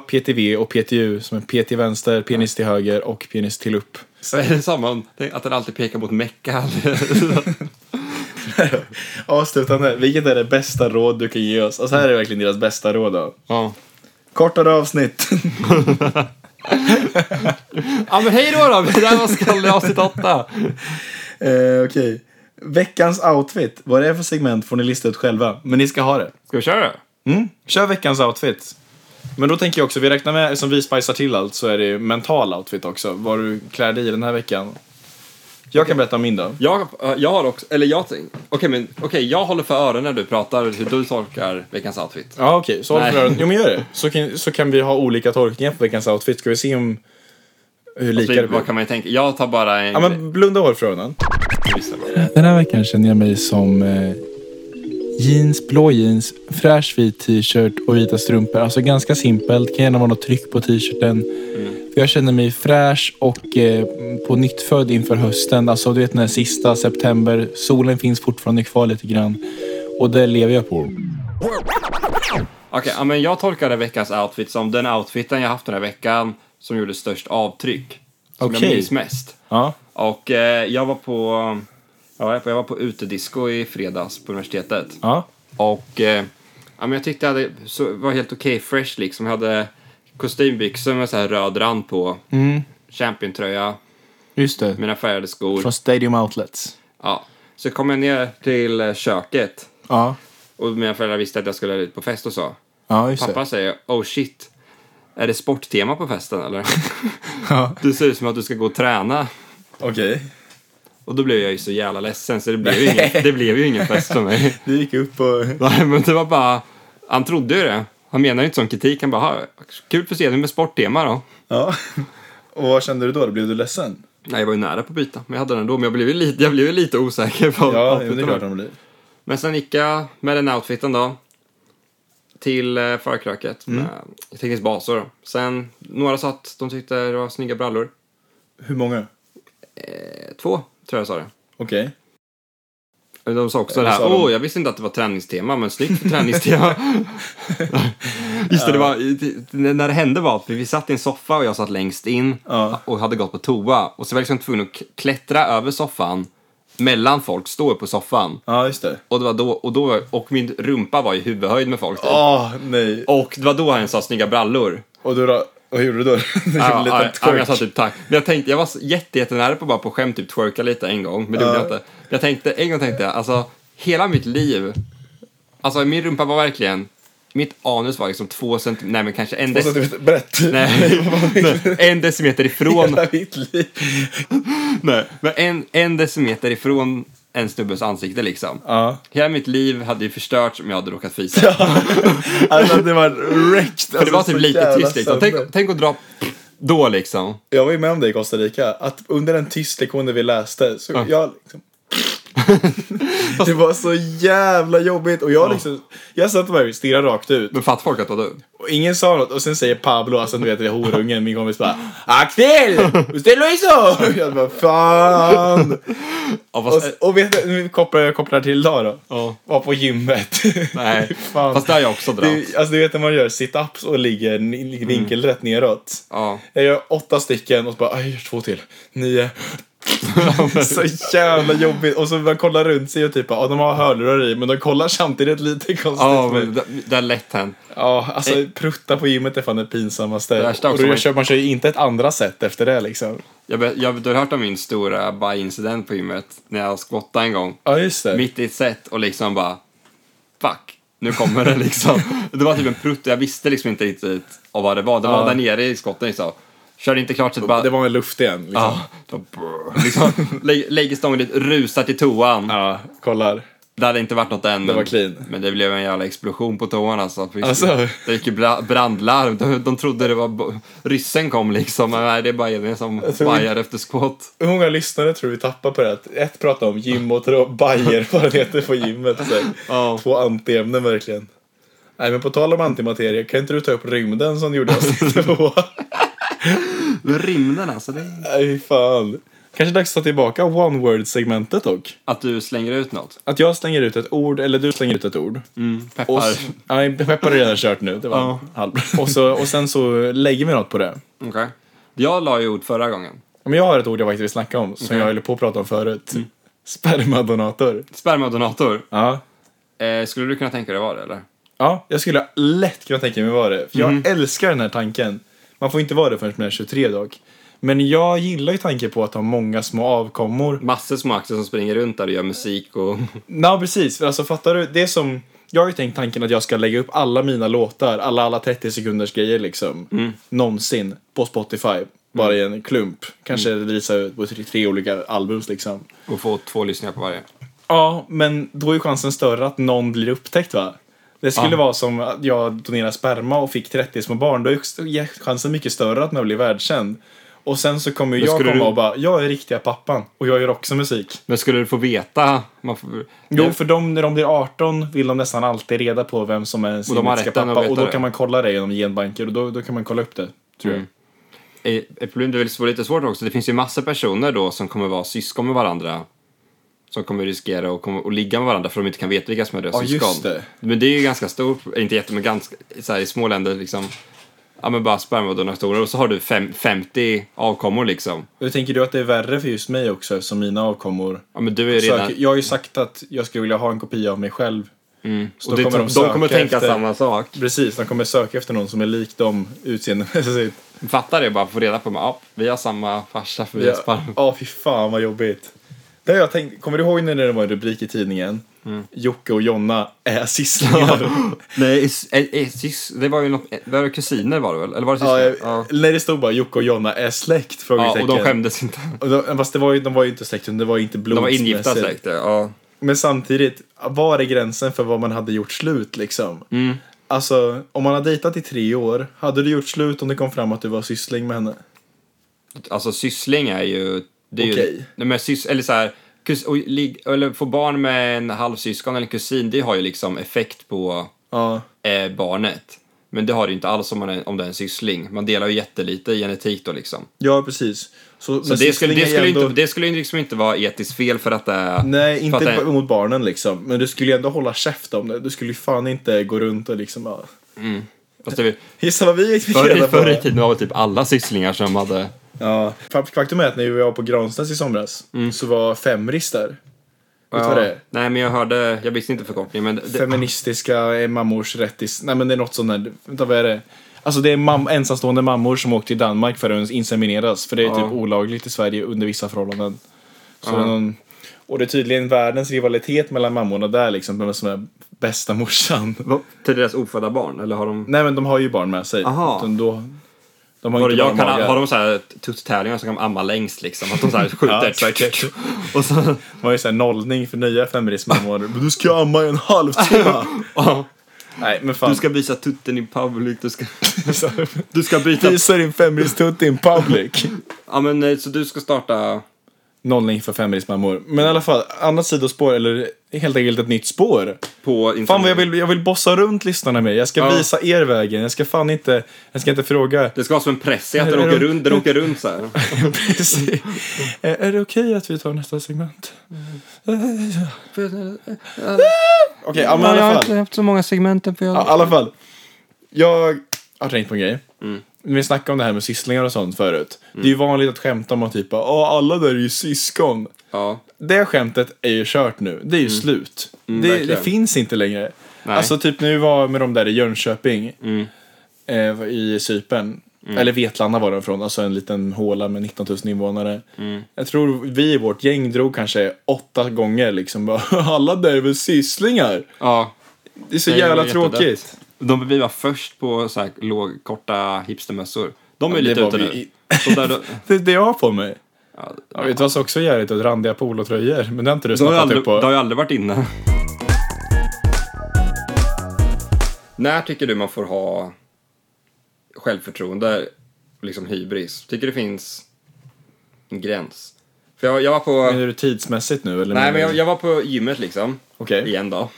PTH, PTV och PTU som är PT vänster, penis till höger och penis till upp.
Så är det samma, om- att den alltid pekar mot Mecka.
Avslutande, vilket är det bästa råd du kan ge oss? Alltså här är verkligen deras bästa råd då.
ja.
Kortare avsnitt.
ja, men hej då då! Det där var Skalle avsnitt 8.
Eh, Okej. Veckans outfit. Vad det är för segment får ni lista ut själva. Men ni ska ha det.
Ska vi köra det?
Mm. Kör veckans outfit. Men då tänker jag också, vi räknar med, eftersom vi spicar till allt så är det ju mental outfit också. Vad du klär dig i den här veckan. Jag kan berätta om min då.
Jag, eh, jag har också, eller jag tänk- okej men okej jag håller för öronen när du pratar hur du tolkar veckans outfit.
Ja okej, så håll
Nej.
för öronen. Jo men gör det. Så kan, så kan vi ha olika tolkningar på veckans outfit. Ska vi se om hur lika
Det,
det blir.
Alltså, vad kan man ju tänka? Jag tar bara en...
Ja men blunda hål för öronen. Den här veckan känner jag mig som eh, jeans, blå jeans, fräsch vit t-shirt och vita strumpor. Alltså ganska simpelt, kan gärna vara något tryck på t-shirten.
Mm.
För Jag känner mig fräsch och eh, på nytt född inför hösten. Alltså du vet den här sista september, solen finns fortfarande kvar lite grann. Och det lever jag på.
Okej, ja, men jag tolkade veckans outfit som den outfiten jag haft den här veckan som gjorde störst avtryck. Som
Okej.
jag minns mest.
Ja.
Och eh, jag var på, jag var på, jag var på utedisco i fredags på universitetet.
Ja.
Och eh, ja, men jag tyckte jag hade, så, var helt okej fresh liksom. Jag hade kostymbyxor med så här röd rand på.
Mm.
Championtröja,
Just det.
mina färgade skor.
Från Stadium Outlets.
Ja. Så kom jag ner till eh, köket
Ja.
och mina föräldrar visste att jag skulle ut på fest och så.
Ja, just
Pappa säger, oh shit, är det sporttema på festen eller?
Ja.
du ser ut som att du ska gå och träna.
Okej.
Och då blev jag ju så jävla ledsen så det blev ju ingen, det blev ju ingen fest för mig.
Du gick upp och...
Nej, men det var bara, han trodde ju det. Han menar ju inte som kritik, han bara, "Ha, kul för scenen med sporttema då.
Ja. Och vad kände du då? Blev du ledsen?
Nej, jag var ju nära på att byta, men jag hade den ändå. Men jag blev ju lite, jag blev ju lite osäker på
Ja,
outfiten.
det är klart de blir.
Men sen gick jag med den outfiten då till eh, förkröket
Mm.
med tekniskt basor. Sen, några sa att de tyckte det var snygga brallor.
Hur många?
Eh, Två, tror jag sa det.
Okej.
Men De sa också
Eller
det
sa
här,
de-
åh, jag visste inte att det var träningstema, men snyggt för träningstema. Just det, det var, när det hände var att vi satt i en soffa och jag satt längst in
Ja.
och hade gått på toa. Och så var jag liksom tvungen att k- klättra över soffan, mellan folk, stå upp på soffan.
Ja, just det.
Och, det var då, och, då, och min rumpa var i huvudhöjd med folk. typ.
Åh, nej.
Och det var då han sa snygga brallor.
Och du då? Och hur gjorde du då? Du gjorde
Ja,
en liten
ja, ja, men jag sa
twerk.
typ tack. Men jag tänkte, jag var så jätte, jättenära på bara på skämt typ twerka lite en gång, men det gjorde jag inte. Men Jag tänkte, en gång tänkte jag, alltså hela mitt liv, alltså min rumpa var verkligen, mitt anus var liksom två centimeter, nej men kanske en,
Och så
dec-
typ brett.
nej, nej, en decimeter ifrån,
Hela mitt liv.
nej, men en, en decimeter ifrån en snubbes ansikte liksom.
Ja.
Hela mitt liv hade ju förstörts om jag hade råkat fisa.
Alltså det var wrecked.
För det var
Alltså,
typ
så
lite
jävla
tyst liksom. Tänk,
sönder.
tänk att dra då liksom.
Jag var ju med om det i Costa Rica, att under den tyst lektionen vi läste så jag liksom... det var så jävla jobbigt och jag liksom, jag satt bara och stirrade rakt ut
Men fattar folk att det var du?
och ingen sa något och sen säger Pablo, alltså du vet det är horungen, min kompis bara Axel! Usted lo hizo! Och Jag bara fan!
Ja,
Och,
fast,
och vet du, nu kopplar jag kopplar till idag då.
ja.
Var på gymmet.
Nej,
fan.
fast det har jag också dragit.
du, alltså du vet när man gör sit-ups och ligger ni- ligger vinkelrätt neråt.
Ja.
Jag gör åtta stycken och så bara, "Aj, jag gör två till. Nio. så jävla jobbigt. Och så man kollar runt sig och typ, ja de har hörlurar i men de kollar samtidigt lite konstigt.
Ja, men det, det är lätt hänt.
ja alltså prutta på gymmet är fan det pinsammaste.
Det värsta
och
också
då
var-
kör, man kör ju inte ett andra sätt efter det liksom.
Jag, be- jag, du har hört om min stora baj-incident på gymmet när jag squattade en gång.
Ja just det.
Mitt i ett set och liksom bara, fuck, nu kommer det liksom. Det var typ en prutt och jag visste liksom inte riktigt av vad det var. Det var
Ja.
där nere i skotten liksom. Körde inte klart så det bara...
Det var med luft igen. Liksom.
Ja, det var brr. liksom, lä- lägger stången dit, rusar till toan.
Ja, kollar.
Det hade inte varit något än.
var
men-
clean.
Men det blev en jävla explosion på toan alltså. För-
Alltså.
Det gick ju bra- brandlarm. De, de trodde det var bo- ryssen kom liksom. Men nej, det är bara Edvin som
tror vi-
vajar efter skott.
Hur många lyssnare tror du vi tappar på det? här? Ett pratar om gym och två bajer, vad det heter på gymmet. Så. här.
Ja.
Två antiämnen verkligen. Nej men på tal om antimateria, kan inte du ta upp rymden som gjorde avsnittet på?
Men rymden alltså. Det är...
Nej fan. Kanske dags att ta tillbaka one word segmentet dock.
Att du slänger ut något.
Att jag slänger ut ett ord, eller du slänger ut ett ord.
Mm, Peppar.
Och s- nej, peppar har redan kört nu. Det var
Ja.
halv. Och, så, och sen så lägger vi något på det.
Okej. Jag la ju ord förra gången.
Men jag har ett ord jag faktiskt vill snacka om,
Mhm.
som jag höll på att prata om förut.
Mm.
Spermadonator.
Spermadonator.
Ja.
Eh, skulle du kunna tänka dig vad det eller?
Ja, jag skulle lätt kunna tänka mig vara det. För jag älskar den här tanken. Man får inte vara det förrän man är 23 dock. Men jag gillar ju tanken på att ha många små avkommor.
Massor små axlar som springer runt där och gör musik och...
Ja, precis. För alltså fattar du? Det är som... Jag har ju tänkt tanken att jag ska lägga upp alla mina låtar, alla, alla 30 sekunders grejer liksom, någonsin på Spotify. Bara i en klump. Kanske visa ut på tre, tre olika albums liksom.
och få två lyssningar på varje.
Ja, men då är ju chansen större att någon blir upptäckt va? Det skulle vara som att jag donerade sperma och fick 30 små barn. Då är ju chansen mycket större att man blir världskänd. Och sen så kommer ju jag
skulle
komma
du-
och bara, jag är riktiga pappan och jag gör också musik.
Men skulle du få veta? Man får...
Jo, för de, när de blir 18 vill de nästan alltid reda på vem som är ens
Och de har
genetiska
rätten att
pappa. Och
veta
då
det.
kan man kolla det genom genbanker och då, då kan man kolla upp det. Tror jag.
Eh, Ett problem det är väl så lite svårt också, det finns ju massa personer då som kommer vara syskon med varandra. Som kommer riskera att, komma, att ligga med varandra för de inte kan veta vilka som är deras
Ja,
syskon.
just det.
Men det är ju ganska stort, eh, inte jätte, men ganska, så här, i små länder liksom. Ja men bara spermadonatorer och så har du fem, 50 avkommor liksom.
Och tänker du att det är värre för just mig också eftersom mina avkommor
Ja men du är ju redan...
söker. Jag har ju sagt att jag skulle vilja ha en kopia av mig själv. Så
och det, de, de kommer
söka
tänka
efter-
samma sak.
Precis, de kommer söka efter någon som är lik dem utseendemässigt.
Fattar det bara, få reda på att vi har samma farsa för vi har
Ja,
sperma.
ja, fy fan vad jobbigt. Det har jag tänkt, kommer du ihåg när det var en rubrik i tidningen?
Mm.
Jocke och Jonna är sysslingar.
Nej, is- eh, eh, sys- det var ju något, eh, det var kusiner var det väl? Eller var det
ja,
syskon?
jag- När det stod bara Jocke och Jonna är släkt?
ja, och de
frågetecken.
skämdes inte.
Och de, fast det var ju, de var ju inte släkt, det var ju inte
De var ingifta
blodsmässigt.
släkter, ja.
Men samtidigt, var är gränsen för vad man hade gjort slut liksom?
Mm.
Alltså, om man har dejtat i tre år, hade du gjort slut om det kom fram att du var syssling med henne?
Alltså syssling är ju... Det är ju
Okej.
nej, men sys, eller så här, kus, och, lig, eller få barn med en halvsyskon eller en kusin, det har ju liksom effekt på
Ja.
eh, barnet. Men det har det ju inte alls om, man är, om det är en syssling. Man delar ju jättelite i genetik då liksom.
Ja, precis. Så,
Så det skulle, det, skulle
ändå,
inte, det skulle ju liksom inte vara etiskt fel för att det är...
Nej, inte
för att det,
ba- mot barnen liksom. Men du skulle ju ändå hålla käft om det. Du skulle ju fan inte gå runt och liksom... Ja.
fast det,
Gissa vad vi fick
förr,
reda
i- förr i
på.
tiden var väl typ alla sysslingar som hade...
Ja. Fak- Faktum är att när vi var på Granstens i somras
Mm.
så var Femris där. Vet du vad det är?
Nej, men jag hörde... Jag visste inte förkortningen, men... Det,
Feministiska är mammors rättis... Nej men det är något sånt där. Vänta, vad är det? Alltså det är mam- ensamstående mammor som åker till Danmark för att insemineras. För det är
Ja.
typ olagligt i Sverige under vissa förhållanden. Så det är någon, och det är tydligen världens rivalitet mellan mammorna där liksom. Vem som är bästa morsan.
Till deras ofödda barn? Eller har de...
Nej men de har ju barn med sig.
Aha.
Utan då, de har
Har,
inte
jag
bara
kan,
magar.
har de så här tutttävlingar som kan amma längst liksom? Att de så här
Ja,
skjuter
säkert.
och så...
Det var ju såhär nollning för nya feministmammor. Men du ska amma i en halvtimme!
Ja.
Nej men fan.
Du ska visa tutten i public, du ska, du ska byta...
Visa din feministtutt in public.
Ja men eh, så du ska starta...
Nollning för feministmammor. Men i alla fall, annat sidospår eller helt enkelt ett nytt spår.
På
Fan vad jag vill, jag vill bossa runt lyssnarna med. Jag ska
Ja.
visa er vägen. Jag ska fan inte, jag ska inte fråga.
Det ska vara som en press i att den
Nej,
åker
de-
runt, den åker runt så här.
Precis. Eh, är är det okej att vi tar nästa segment? Okej, Mm. ja, men i alla fall.
haft så många segmenten för jag...
Ja, I alla fall. Jag har tänkt på en grej. Vi snackade om det här med sysslingar och sånt förut. Det är ju vanligt att skämta om att typ Åh, alla där är ju syskon.
Ja.
Det skämtet är ju kört nu. Det är ju slut. det, det
Mm. verkligen.
finns inte längre.
Nej. Mm.
Alltså typ nu var med de där i Jönköping. Eh, I Cypern. Eller Vetlanda var de från. Alltså en liten håla med 19 000 invånare.
Mm.
Jag tror vi i vårt gäng drog kanske åtta gånger liksom. bara, Alla där är väl sysslingar.
ja.
Det är så
Nej, det
jävla
var jättedött.
tråkigt.
De vi var först på så här låg, korta hipstermössor. De är
Ja,
ju
det
lite
var
ute
vi
nu.
i-
De där, de,
Det är det jag har på mig.
ja,
Jag vet du vad som också är jävligt? Och Randiga polotröjor. Men det har inte du
de har ju
snappat
aldrig,
upp
de har
på.
ju aldrig varit inne. När tycker du man får ha självförtroende, liksom hybris? Tycker det finns en gräns? För jag, jag var på...
Menar du tidsmässigt nu eller? menar
Nej,
du-
men jag, jag var på gymmet liksom.
Okej.
Igen då.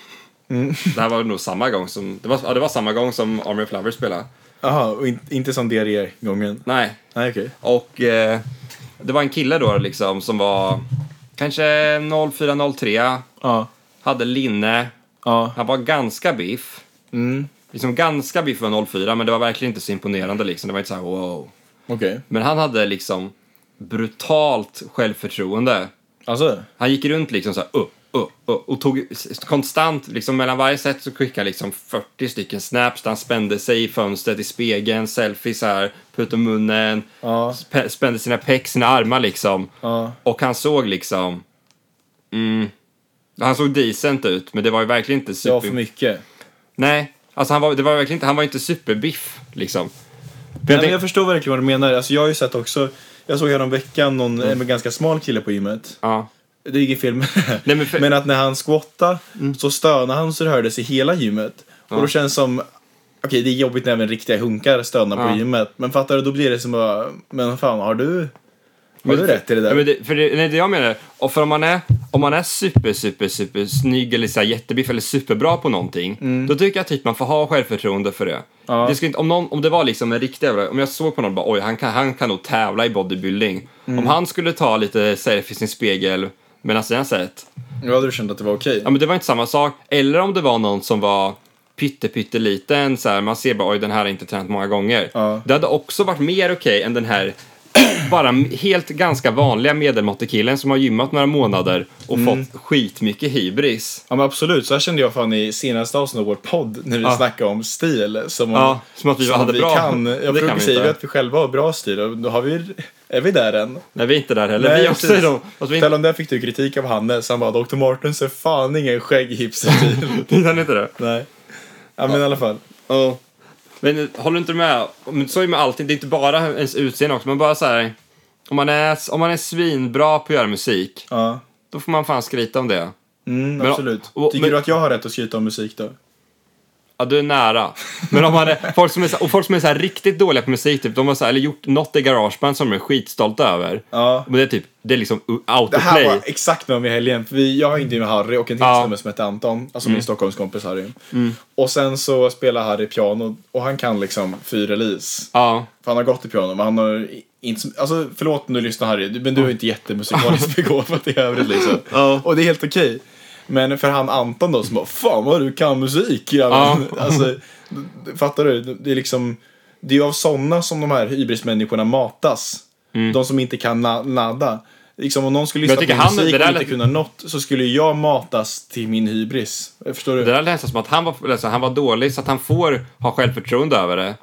Det här var nog samma gång som, det var, ja, det var samma gång som Army of Lovers spelade.
Jaha, och in, inte som diarrégången?
Nej.
Nej, okej.
Och eh, det var en kille då liksom som var kanske 04-03,
Ja.
hade linne,
Ja.
han var ganska biff.
Mm.
Liksom ganska biff var 04, men det var verkligen inte så imponerande liksom. Det var inte så här wow.
Okej.
Men han hade liksom brutalt självförtroende.
Alltså?
Han gick runt liksom så här upp, upp, upp och tog s- konstant, liksom mellan varje set så skickade han liksom 40 stycken snaps där han spände sig i fönstret, i spegeln, selfies här, put om munnen,
Ja.
sp- spände sina peck, sina armar liksom.
Ja.
Och han såg liksom, mm, han såg decent ut men det var ju verkligen inte
Det
super...
var för mycket.
Nej, alltså han var, det var verkligen inte, han var inte superbiff liksom.
Nej, men jag förstår verkligen vad du menar. Alltså, jag har ju sett också, jag såg häromveckan någon,
Mm.
en ganska smal kille på gymmet.
ja.
Det är ingen film.
Nej, men för- Mm.
men att när han squattade så stönade han så det hördes i hela gymmet. Och då känns det som, okej det är jobbigt när även riktiga hunkar stönar
Ja.
på gymmet. Men fattar du, då blir det som bara, men fan har du, har du rätt i det där?
Ja, men det, för det, nej, det jag menar, och för om man är, om man är super, super, super snygg eller så här jättebiff eller superbra på någonting,
Mm.
då tycker jag typ man får ha självförtroende för det. det skulle inte, om, någon, om det var liksom en riktig jävla, om jag såg på någon och bara oj, han kan, han kan nog tävla i bodybuilding.
Mm.
Om han skulle ta lite selfies i en spegel alltså mellan sina set,
Då hade du känt att det var okej.
ja men det var inte samma sak. Eller om det var någon som var pytte pytteliten så här, man ser bara oj den här har inte tränat många gånger.
Ja.
Det hade också varit mer okej än den här bara helt ganska vanliga medelmåttekillen som har gymmat några månader och
Mm.
fått skitmycket hybris.
Ja men absolut, så här kände jag fan i senaste avsnittet av vår podd när vi
Ja.
snackade om stil. Som,
Ja, som att vi hade
vi
bra.
Kan.
Det kan
Jag
vi
brukar säga
inte.
ju att vi själva har bra stil och då har vi, är vi där än.
Nej, vi är inte där heller. vi är också i
precis.
de, alltså, vi är
Ställ om där fick du kritik av Hannes, han bara Dr. Martens är fan ingen skägghipsterstil.
inte, den är inte det.
Nej. Ja men i alla fall.
Ja. Men eh, håller du inte med? Men så är det med allting. Det är inte bara ens utseende också. Man bara så här, om man är, om man är svinbra på att göra musik,
Ja.
då får man fan skryta om det.
Mm,
Men-
absolut.
och-
Tycker
men-
du att jag har rätt att skryta om musik då?
Ja, du är nära. Men om man är, folk som är, så, och folk som är så här riktigt dåliga på musik, typ, de har så här, eller gjort något i garageband som de är skitstolta över.
Ja.
Men det är typ, det är liksom u-
Det här
autoplay.
var exakt med om i helgen. För vi, jag hängde ju med Harry och en till
Ja.
snubbe som hette Anton. Alltså min Stockholmskompis Harry. Och sen så spelar Harry piano och han kan liksom fyra lis.
Ja.
För han har gått i piano men han har i- inte så- Alltså förlåt om du lyssnar Harry, du- men du är inte jättemusikaliskt begåvad i övrigt liksom.
Mm. Ja.
Och det är helt okej. Men för han Anton då som bara Fan vad du kan musik grabben." Alltså, d- d- fattar du? Det är liksom Det är ju av sådana som de här hybrismänniskorna matas. De som inte kan na- nada. Liksom om någon skulle
Mm. Men jag
lyssna på
tycker han-
musik
det där
och inte
lät-
kunna något så skulle jag matas till min hybris. Förstår du?
Det där lät nästan som att han var, alltså, han var dålig så att han får ha självförtroende över det.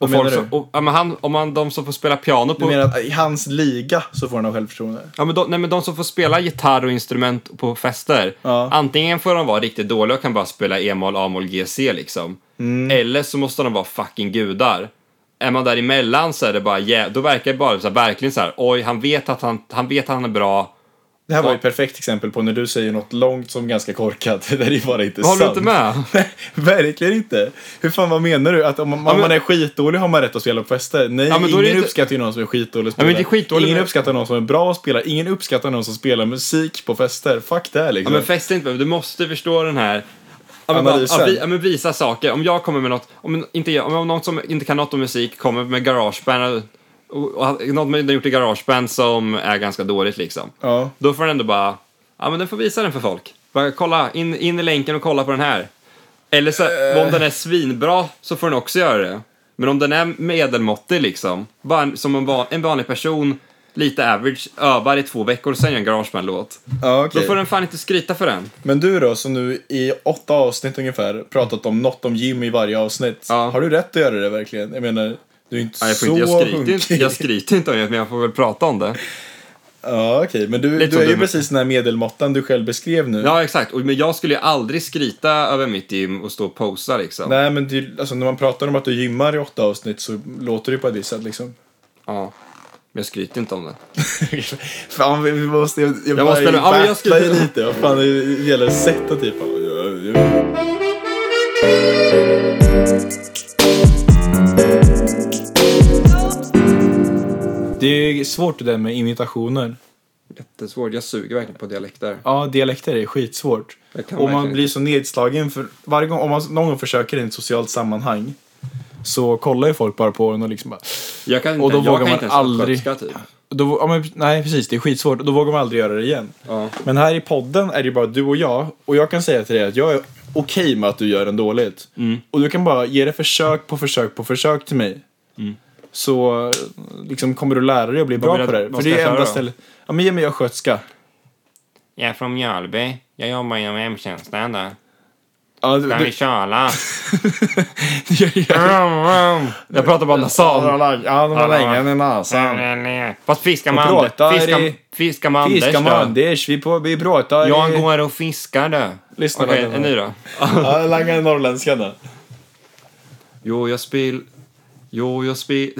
Och
menar
folk som,
du?
och, ja, men han, om man, de som får spela piano
Du
på...
menar att i hans liga så får han ha självförtroende?
Ja, men de, nej, men de som får spela gitarr och instrument på fester,
Ja.
antingen får de vara riktigt dåliga och kan bara spela e-moll, a-moll, g-c liksom.
Mm.
Eller så måste de vara fucking gudar. Är man däremellan så är det bara, jä- då verkar det bara så här, verkligen så här, oj, han vet att han, han vet att han är bra.
Det här var ju
Ja.
ett perfekt exempel på när du säger något långt som ganska korkat. Det där är bara inte sant.
Håller du inte med?
Nej, verkligen inte. Hur fan, vad menar du? Att om man, om
men-
man är skitdålig har man rätt att spela på fester? Nej,
Ja, men då är
ingen
det inte-
uppskattar ju någon som är skitdålig
men
spelare.
det är skitdålig,
ingen
men-
uppskattar någon som är bra och spelar. Ingen uppskattar någon som spelar musik på fester. Fuck det här,
Ja,
liksom.
men fest är inte, du måste förstå den här Ja, men, bara,
Analysen.
ja, vi, ja, men visa saker. Om jag kommer med något, om, inte, jag, om någon som inte kan något om musik kommer med garageband, och, och, något man gjort i garageband som är ganska dåligt liksom.
Ja.
Då får den ändå bara, ja men den får visa den för folk. Bara kolla, in, in i länken och kolla på den här. Eller så,
Eh.
om den är svinbra så får den också göra det. Men om den är medelmåttig liksom, bara en, som en, van, en vanlig person, lite average, övar i två veckor och sen gör en garageband-låt.
Ja, okej.
Då får den fan inte skryta för den.
Men du då, som nu i åtta avsnitt ungefär pratat om något om gym i varje avsnitt.
Ja.
Har du rätt att göra det verkligen? Jag menar, du är inte
Ja, jag, får
så
inte, jag, skryter, inte-
hunkig.
jag skryter inte om det, men jag får väl prata om det.
Ja, okej. Men du,
Lite
du
som
är ju
du-
precis den här medelmåttan du själv beskrev nu.
Ja, exakt. Och- Men jag skulle ju aldrig skryta över mitt gym och stå och posa liksom.
Nej, men det, alltså, när man pratar om att du gymmar i åtta avsnitt så låter det ju på ett visst sätt liksom.
Ja. Men jag skryter inte om det.
fan, vi vi måste... Jag, jag,
måste-
ju
ja, men jag
battla
skulle-
ju lite. Vad fan, det gäller sätt att typ... Det är ju svårt det där med imitationer.
Jättesvårt. Jag suger verkligen på dialekter.
Ja, dialekter är skitsvårt.
Jag kan
Och man
verkligen
blir så nedslagen för varje gång, om man någon gång försöker i ett socialt sammanhang så kollar ju folk bara på en och liksom bara...
Jag kan inte,
Och då
jag
vågar
kan
man
inte ens
aldrig-
skötska, typ.
Då, ja, men, nej, precis. Det är skitsvårt. Då vågar man aldrig göra det igen.
Ja.
Men här i podden är det ju bara du och jag. Och jag kan säga till dig att jag är okej med att du gör den dåligt.
Mm.
Och du kan bara ge det försök på försök på försök till mig. Så liksom kommer du lära dig och bli bra
vill
på
jag-
det här. För
Mm. vad
det
ska jag
är
köra
enda
då?
stället. Ja, men ge mig östgötska.
Jag är från Mjölby. Jag jobbar inom hemtjänsten där.
Ja, du, du,
köla?
ja,
jag pratar bara nasal.
de har länge i
Mm.
nasan.
Fast fiskar
Jag
man
pratar
fiskar,
i-
fiskar man Anders
Fiskar med
då?
Anders, vi, på, vi pratar
Jag
i-
går och fiskar då.
Lyssna
Okej,
på den
en
här.
ny då.
Ja, langar norrländskan då.
Jo, jag spel... Jo, jag spel...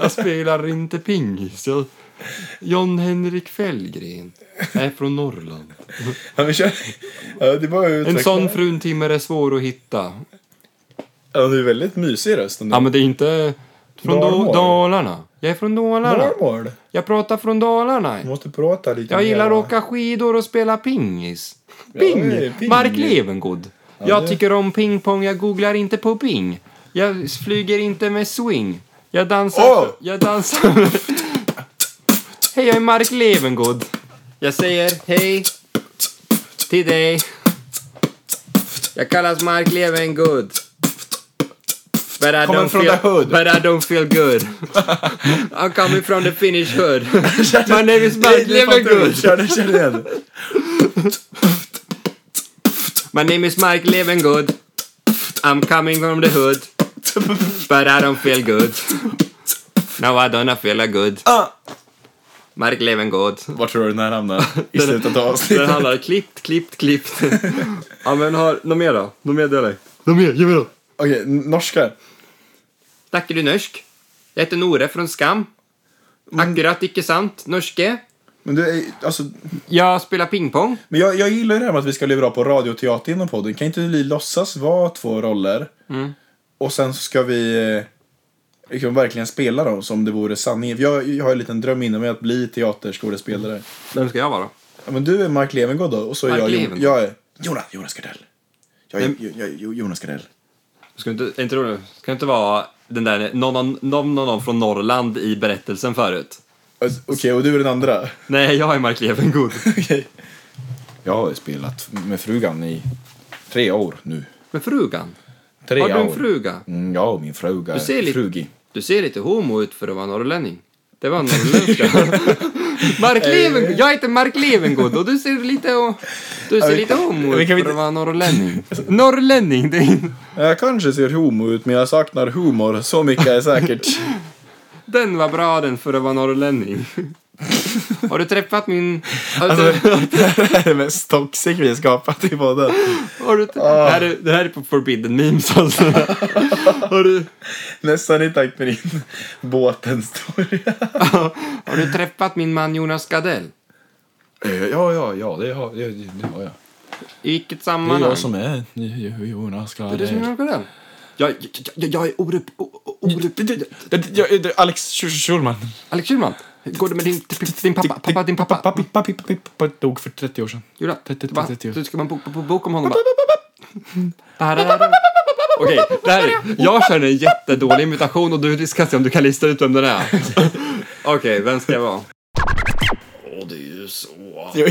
jag spelar inte pingis. Jag... John Henrik Fällgren är från Norrland.
Ja, men kör. Ja, det är bara att
En
utveckla.
sån fruntimmer är svår att hitta.
Ja, du är väldigt mysig i rösten.
Ja, men det är inte... Från
Dalmål.
Dal- Dalarna. Jag är från Dalarna.
Norrmål.
Jag pratar från Dalarna.
Du måste prata lite
Jag gillar
mera.
att åka skidor och spela pingis.
Ja, det är
Ping!
ping.
Mark Levengood.
det-
Jag tycker om pingpong, jag googlar inte på ping. Jag flyger inte med swing. Jag dansar...
Åh!
Jag dansar... hej, jag är Mark Levengood. Jag säger hej till dig. Jag kallas Mark Levengood. But
Kommer
I, don't
från
feel,
the hood.
but I don't feel good. I'm coming from the Finnish hood. My name is Mark Levengood.
Kör den, kör den.
My name is Mike Levengood. I'm coming from the hood. But I don't feel good. No, I don't feel good. Mark Levengood.
Var tror du den här hamnar? I slutet av
Den
avsnittet.
handlar klippt, klippt, klippt. ja, men har... Något mer då? Något mer dialekt? Något mer? Ge mig då.
Okej, norska.
Snakker du norsk? Jeg heter Nore från Skam. Akkurat ikke sant? Norske.
Men, du är, alltså,
Jag spelar pingpong.
men jag, jag gillar ju det här med att vi ska bli bra på radioteater inom podden. Kan inte vi låtsas vara två roller?
Mm.
Och sen så ska vi eh, liksom verkligen spela dem som det vore sanning. Jag, jag har ju en liten dröm inom mig att bli teaterskådespelare.
Vem ska jag vara då?
Ja, men du är Mark Levengood då och så är
Mark
jag,
Levengood.
jag är Jonas, Jonas Gardell. Jag är
Vem?
jag, jag, jag- Jonas Gardell.
Ska du inte, inte, roligt? ska du inte vara den där, någon, någon, någon, någon från Norrland i berättelsen förut?
Alltså, Okej, och du är den andra?
Nej, jag är Mark Levengood.
Okej. Jag har spelat med frugan i tre år nu.
Men frugan?
Tre
Har du en
år.
fruga?
Mm, ja, och min fruga
Du ser lite-
frugi.
Du ser lite homo ut för att vara norrlänning. Det var en norrländska. Mark Levengood. Jag heter Mark Levengood och du ser lite, och, du ser lite homo
men
ut
kan vi
för att vara norrlänning. Norrlänning, det är,
Jag kanske ser homo ut, men jag saknar humor. Så mycket är säkert.
den var bra den för att vara norrlänning. Har du träffat min... Har du,
Alltså, det här är det mest toxic vi skapat i podden.
har du,
Ah.
det, här är, det här är på forbidden memes alltså. Har du,
Nästan i takt med din båten-story.
har du träffat min man Jonas Gardell?
Ja, ja, ja, det har, det, det har jag.
I vilket
Det är
sammanhang?
jag som är Jonas
Är det du som är
Gardell.
Jonas Gardell? Jag, jag, jag, jag är Orup... O- O- Orup...
Alex Schulman.
Alex Schulman, hur går det med din, din pappa? Pappa, din pappa?
Pappa, pappa, pappa, pappa dog för 30 år sedan.
Jodå,
T- t- t-
va?
t- t-
Du ska man boka på bok om honom va? Okej, det här är, jag känner en jättedålig imitation och du ska se om du kan lista ut vem den är. Okej, vem ska jag vara?
Jo,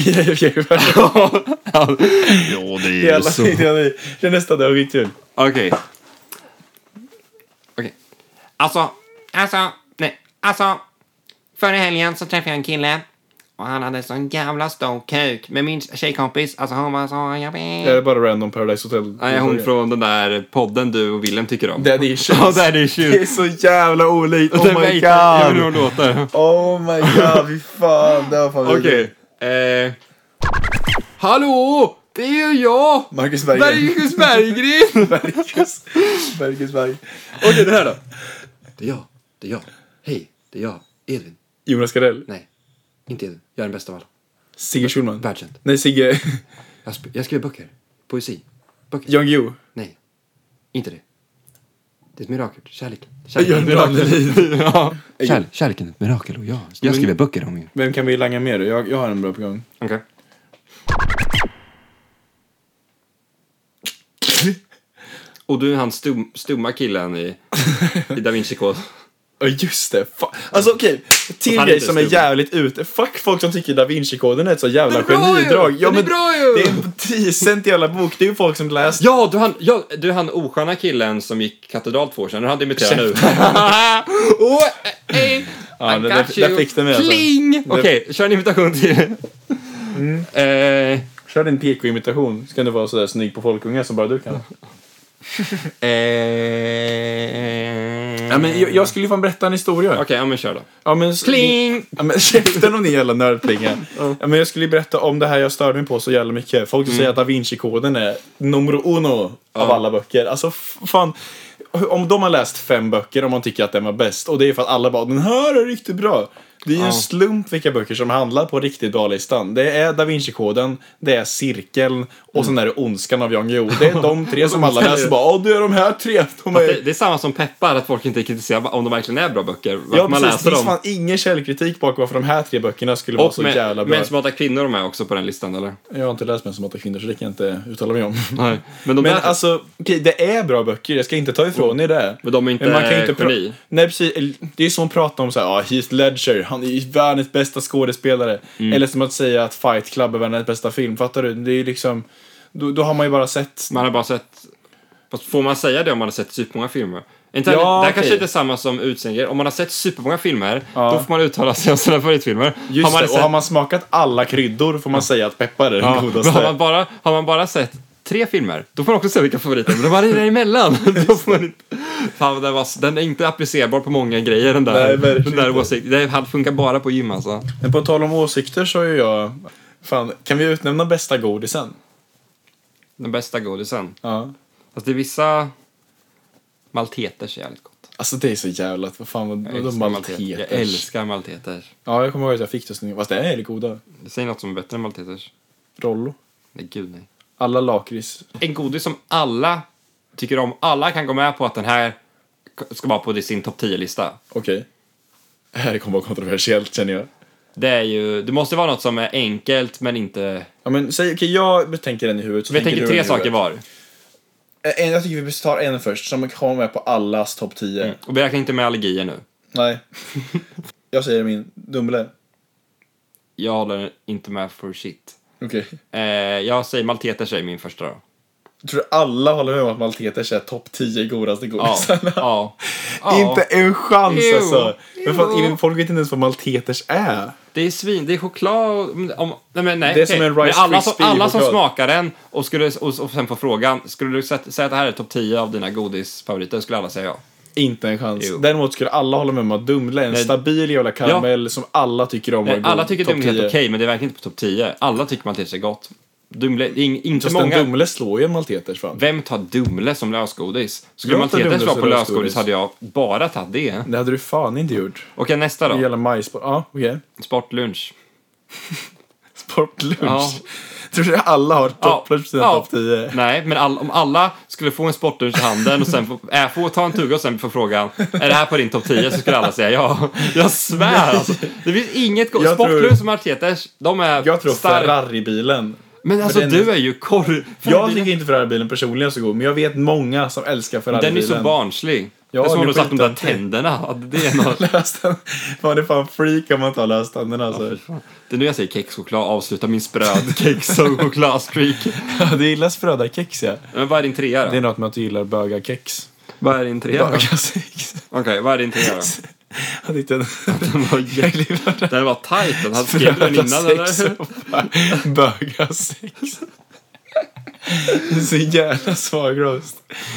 Hela tiden i. Det är nästan det var skitkul.
Okej. Okej. Alltså, alltså, nej, alltså. Förra helgen så träffade jag en kille och han hade sån jävla stor kuk. Men min tjejkompis, alltså hon var så
Det
jobbig.
är bara random Paradise Hotel.
Nej, hon från den där podden du och Willem tycker om.
Daddy Issues.
Ja, Daddy Issues.
Det är så jävla olikt.
Den
Oh my
vet jag- Jag vet hur
god.
hon låter.
Oh my god, fy fan. Det var fan vidrigt.
Okej. Eh. Hallå! Det är ju jag!
Marcus Berggren.
Marcus Berggren!
Marcus, Marcus Berg.
Okej, det här då. Det är jag. Det är jag. Hej, det är jag. Edvin.
Jonas Gardell.
Nej, inte Edvin. Jag är den bästa av alla.
Sigge Schulman.
Världskänd.
Nej, Sigge.
Jag, sp- jag skriver böcker. Poesi. Böcker.
Jan Guillou.
Nej, inte det. Det är ett mirakel. Kärlek.
Björn Ranelid.
ja. Kärlek, kärleken är ett mirakel och jag, jag skriver böcker om det.
Vem kan vi langa mer? Jag, jag har en bra på gång.
Okej. Och du är han stum, stumma killen i, i Da Vinci Code.
Ja just det, Fa- alltså okej, till
Fan,
grej
inte
som är
stum.
jävligt ute. Fuck folk som tycker Da Vinci-koden är ett så jävla
Den är bra ju!
genidrag.
Den är bra ju!
Det är en decent jävla bok, det är ju folk som läst.
Ja, du han, ja, du han osköna killen som gick katedral två år sedan. Han dimitterar nu. oh, hey,
Ja,
I
det-
got
det-
you.
där fick du mig alltså.
Pling! Okej, kör en imitation till. Eh,
Kör din PK-imitation, ska du vara sådär snygg på folkungar som bara du kan.
eh,
Ja, men jag, jag skulle ju fan berätta en historia.
Okej, ja men kör då.
Ja, men,
Pling!
Ja, men, käften om din jävla nördplinga. ja, men jag skulle ju berätta om det här jag störde mig på så jävla mycket. Folk säger att Da Vinci-koden är numero uno av alla böcker. Alltså f- fan. Om de har läst fem böcker och man tycker att den var bäst och det är för att alla bara den här är riktigt bra. Det är ju en slump vilka böcker som handlar på riktigt bra-listan. Det är Da Vinci-koden, det är Cirkeln och sen är det Ondskan av Jan Guillou. Det är de tre som alla läser och bara åh det är de här tre. De
Det,
är...
det är samma som peppar, att folk inte kritiserar om de verkligen är bra böcker. Varför
Ja
man
precis, det
läser
finns
dem.
fan ingen källkritik bakom varför de här tre böckerna skulle vara
Och
så jävla
med,
bra.
män som hatar kvinnor är med också på den listan, eller?
Jag har inte läst Män som hatar kvinnor så det kan jag inte uttala mig om.
Nej. Men de,
Men
där, Mm.
alltså, okej, det är bra böcker, jag ska inte ta ifrån er det.
men de är inte
Men man kan ju
inte
pra-
geni.
Nej precis, Eller, det är som att prata om så här, ah, Heath Ledger, han är ju världens bästa skådespelare.
Mm.
Eller som att säga att Fight Club är världens bästa film, fattar du? Det är ju liksom, då, då har man ju bara sett...
Man har bara sett... Fast får man säga det om man har sett supermånga filmer? Inte,
Ja,
det här
okej.
kanske inte är samma som utseendet. Om man har sett supermånga filmer, då får man uttala sig om sina favoritfilmer.
Just
har man
det, och har man smakat alla kryddor får man säga att peppar är den
ja, men
godaste.
har, man bara, har man bara sett tre filmer, då får man också säga vilka favoriter Men om man är däremellan, då får man inte... Fan, den, var, den är inte applicerbar på många grejer, den
Nej,
där,
verkligen
den där
inte.
åsikten. Det här funkar bara på gym, alltså.
Men på tal om åsikter så är ju jag... Fan, kan vi utnämna bästa godisen?
Den bästa godisen.
Ja.
Fast det är vissa... Malteters är jävligt gott.
Alltså det är så jävla... Vad fan, vad,
Jag
vad
älskar
de
malteters. Jag
malteter.
älskar malteters.
Ja, jag kommer ihåg att jag fick det snyggt. Fast det är det goda.
Säg något som är bättre än malteters.
Rollo.
Nej, gud nej.
Alla lakrits.
En godis som alla tycker om. Alla kan gå med på att den här ska vara på sin topp 10-lista.
Okej. Det här kommer vara kontroversiellt känner jag.
Det är ju, det måste vara något som är enkelt men inte...
Ja men säg, okej jag tänker den i huvudet. Så
Vi tänker
du
tre
den i
saker
huvudet. Eh,
var.
En, jag tycker vi tar en först som kommer med på allas topp 10.
Och vi räknar inte med allergier nu.
Nej. jag säger min. Dumle.
Jag håller inte med for shit.
Okej.
Eh, jag säger malteters är min första då.
Tror du alla håller med om att malteters är topp 10 godaste
Ja.
godisarna?
ja. ja.
Inte en chans
Jo.
alltså. Men fan,
Jo.
ingen- folk vet inte ens vad malteters är.
Det är svin, det är choklad och, men om, nej, men nej,
Det är
okej.
som en
Men
Rice
alla, som,
Krispie
alla som
choklad.
smakar den och, skulle, och, och sen får frågan, skulle du säga säga att det här är topp 10 av dina godisfavoriter, skulle alla säga ja.
Inte en chans.
Jo.
Däremot skulle alla hålla med om att Dumle är en
Nej.
stabil jävla karamell som alla tycker om och är
Nej,
god.
alla tycker
Topp
Dumle är helt
10.
okej, men det är verkligen inte på topp 10. Alla tycker man till sig gott. Dumle, in, inte
Fast en
många.
Dumle slår ju en malteters fram.
Vem tar Dumle som lösgodis? Skulle
Jag
man
tar
Malteters
Dumle
vara
som
på lösgodis
lösgodis.
hade jag bara tagit det.
Det hade du fan inte gjort.
Okej, nästa
Det
då.
gäller majsboll. Ja, okej.
Sportlunch.
Sportlunch.
Ja.
Tror du alla har
Ja,
topplunch på sina
ja.
topp 10?
Nej, men all, om alla skulle få en sportlunch i handen och sen få, äh, få ta en tugga och sen få frågan är det här på din topp 10 så skulle alla säga ja. Jag svär alltså. Det finns inget gott.
Jag tror-
Sportlunch som Arteters, de är
Jag tror
stark-
Ferrari-bilen.
Men alltså
den-
du är ju korv...
Jag tycker inte Ferrari-bilen personligen är så god, men jag vet många som älskar Ferrari-bilen.
Den är så barnslig.
Ja,
det är som om
det
du satt de där
skiter jag i.
tänderna. Ja, Det är något...
Lösten. Fan, det är fan freak om man tar löständerna alltså.
Det är nu jag säger kexchoklad, avsluta min spröd kex och chokladstreak.
Ja, du gillar sprödarkex ja.
Men vad är din trea då?
Det är något med att du gillar bögarkex.
Vad är din trea då?
Bögarkex.
Okej, vad är din trea då?
Jag tyckte den...
Den var jätte... Den var tajt, den hade skrivit den innan eller?
Bögarsex. Det är så jävla svag röst.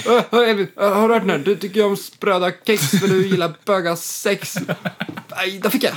Ö, ö, Emil, ö, Har du hört den här? Du tycker ju om spröda kex för du gillar böga sex. Aj, där fick jag!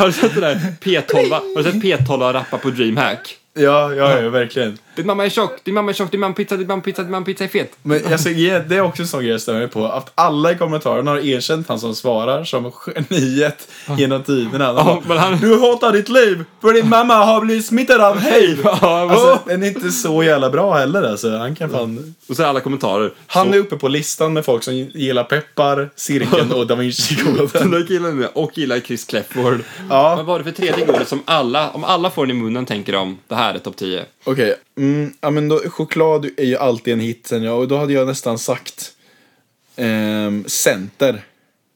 Har du sett det där? P12, har du sett P12 rappa på DreamHack?
Ja, ja, ja, verkligen.
Din mamma är tjock, din mamma är tjock, din mamma är pizza, din mamma är pizza, din mamma är pizza är fet.
Men alltså, ge- det är också en sån grej jag stämmer mig på. Att alla i kommentarerna har erkänt han som svarar som geniet genom tiderna. De
Ja,
bara,
men han-
Du hatar ditt liv för din mamma har blivit smittad av hiv.
Ja,
Alltså, den är inte så jävla bra heller alltså. Han kan fan...
och så alla kommentarer.
Han är uppe på listan med folk som gillar peppar, cirkeln och da
Den
Vinci-koden.
där killen är- och gillar Chris Clefford.
Ja.
Men vad är det för tredje godis som alla, om alla får den i munnen tänker de, det här är topp 10.
Okej, mm, ja men då, choklad är ju alltid en hit sen jag, och då hade jag nästan sagt ehm, center.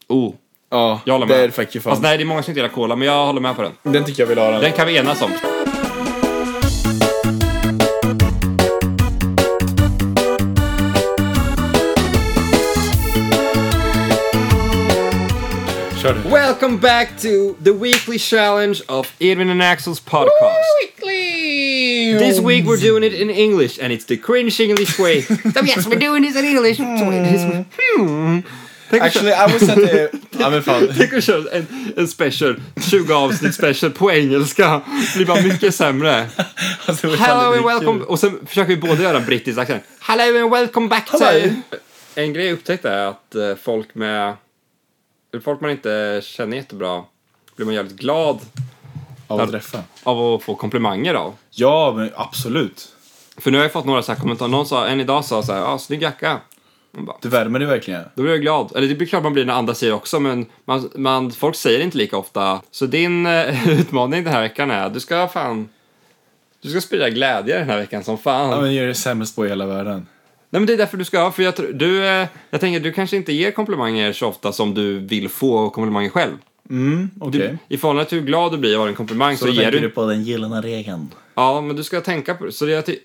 Oh,
Ja,
jag håller med.
där fick ju fan.
Fast nej, det är många som inte gillar cola, men jag håller med på den.
Den tycker jag vill ha den.
Den kan vi enas om.
Kör du.
Welcome back to the weekly challenge of Edwin and Axel's podcast. This week we're doing it in English, and it's the cringe English way. so yes, we're doing this in English. So it is. Hmm. Tänk att
Actually, I was at the... ja men fan.
Tänk att köra en, en special, 20 avsnitt special på engelska. Det blir bara mycket sämre.
Alltså, det var fan
Hello
lite
and welcome...
kul.
Och sen försöker vi båda göra en brittisk accent. Hello and welcome back to...
Hello.
En grej jag upptäckte är att eh, folk med... eller Folk man inte känner jättebra blir man jävligt glad
Av att träffa.
av att få komplimanger av.
Ja, men absolut.
För nu har jag fått några så här kommentarer. Någon sa, en idag sa så här, ah, snygg jacka. Man bara,
Du värmer dig verkligen.
Då blir jag glad. Eller det blir klart man blir när andra säger också, men man, man, folk säger inte lika ofta. Så din eh, utmaning den här veckan är att du ska fan... Du ska sprida glädje den här veckan som fan.
Ja, men gör det sämst på i hela världen.
Nej men det är därför du ska, för jag, tror- du, eh, jag tänker du kanske inte ger komplimanger så ofta som du vill få komplimanger själv.
Okej.
Du, I förhållande till hur glad du blir av en komplimang så,
Mm. Så då
ger
tänker
du...
du på den gyllene regeln.
Ja, men du ska tänka på det. Så det är, ty-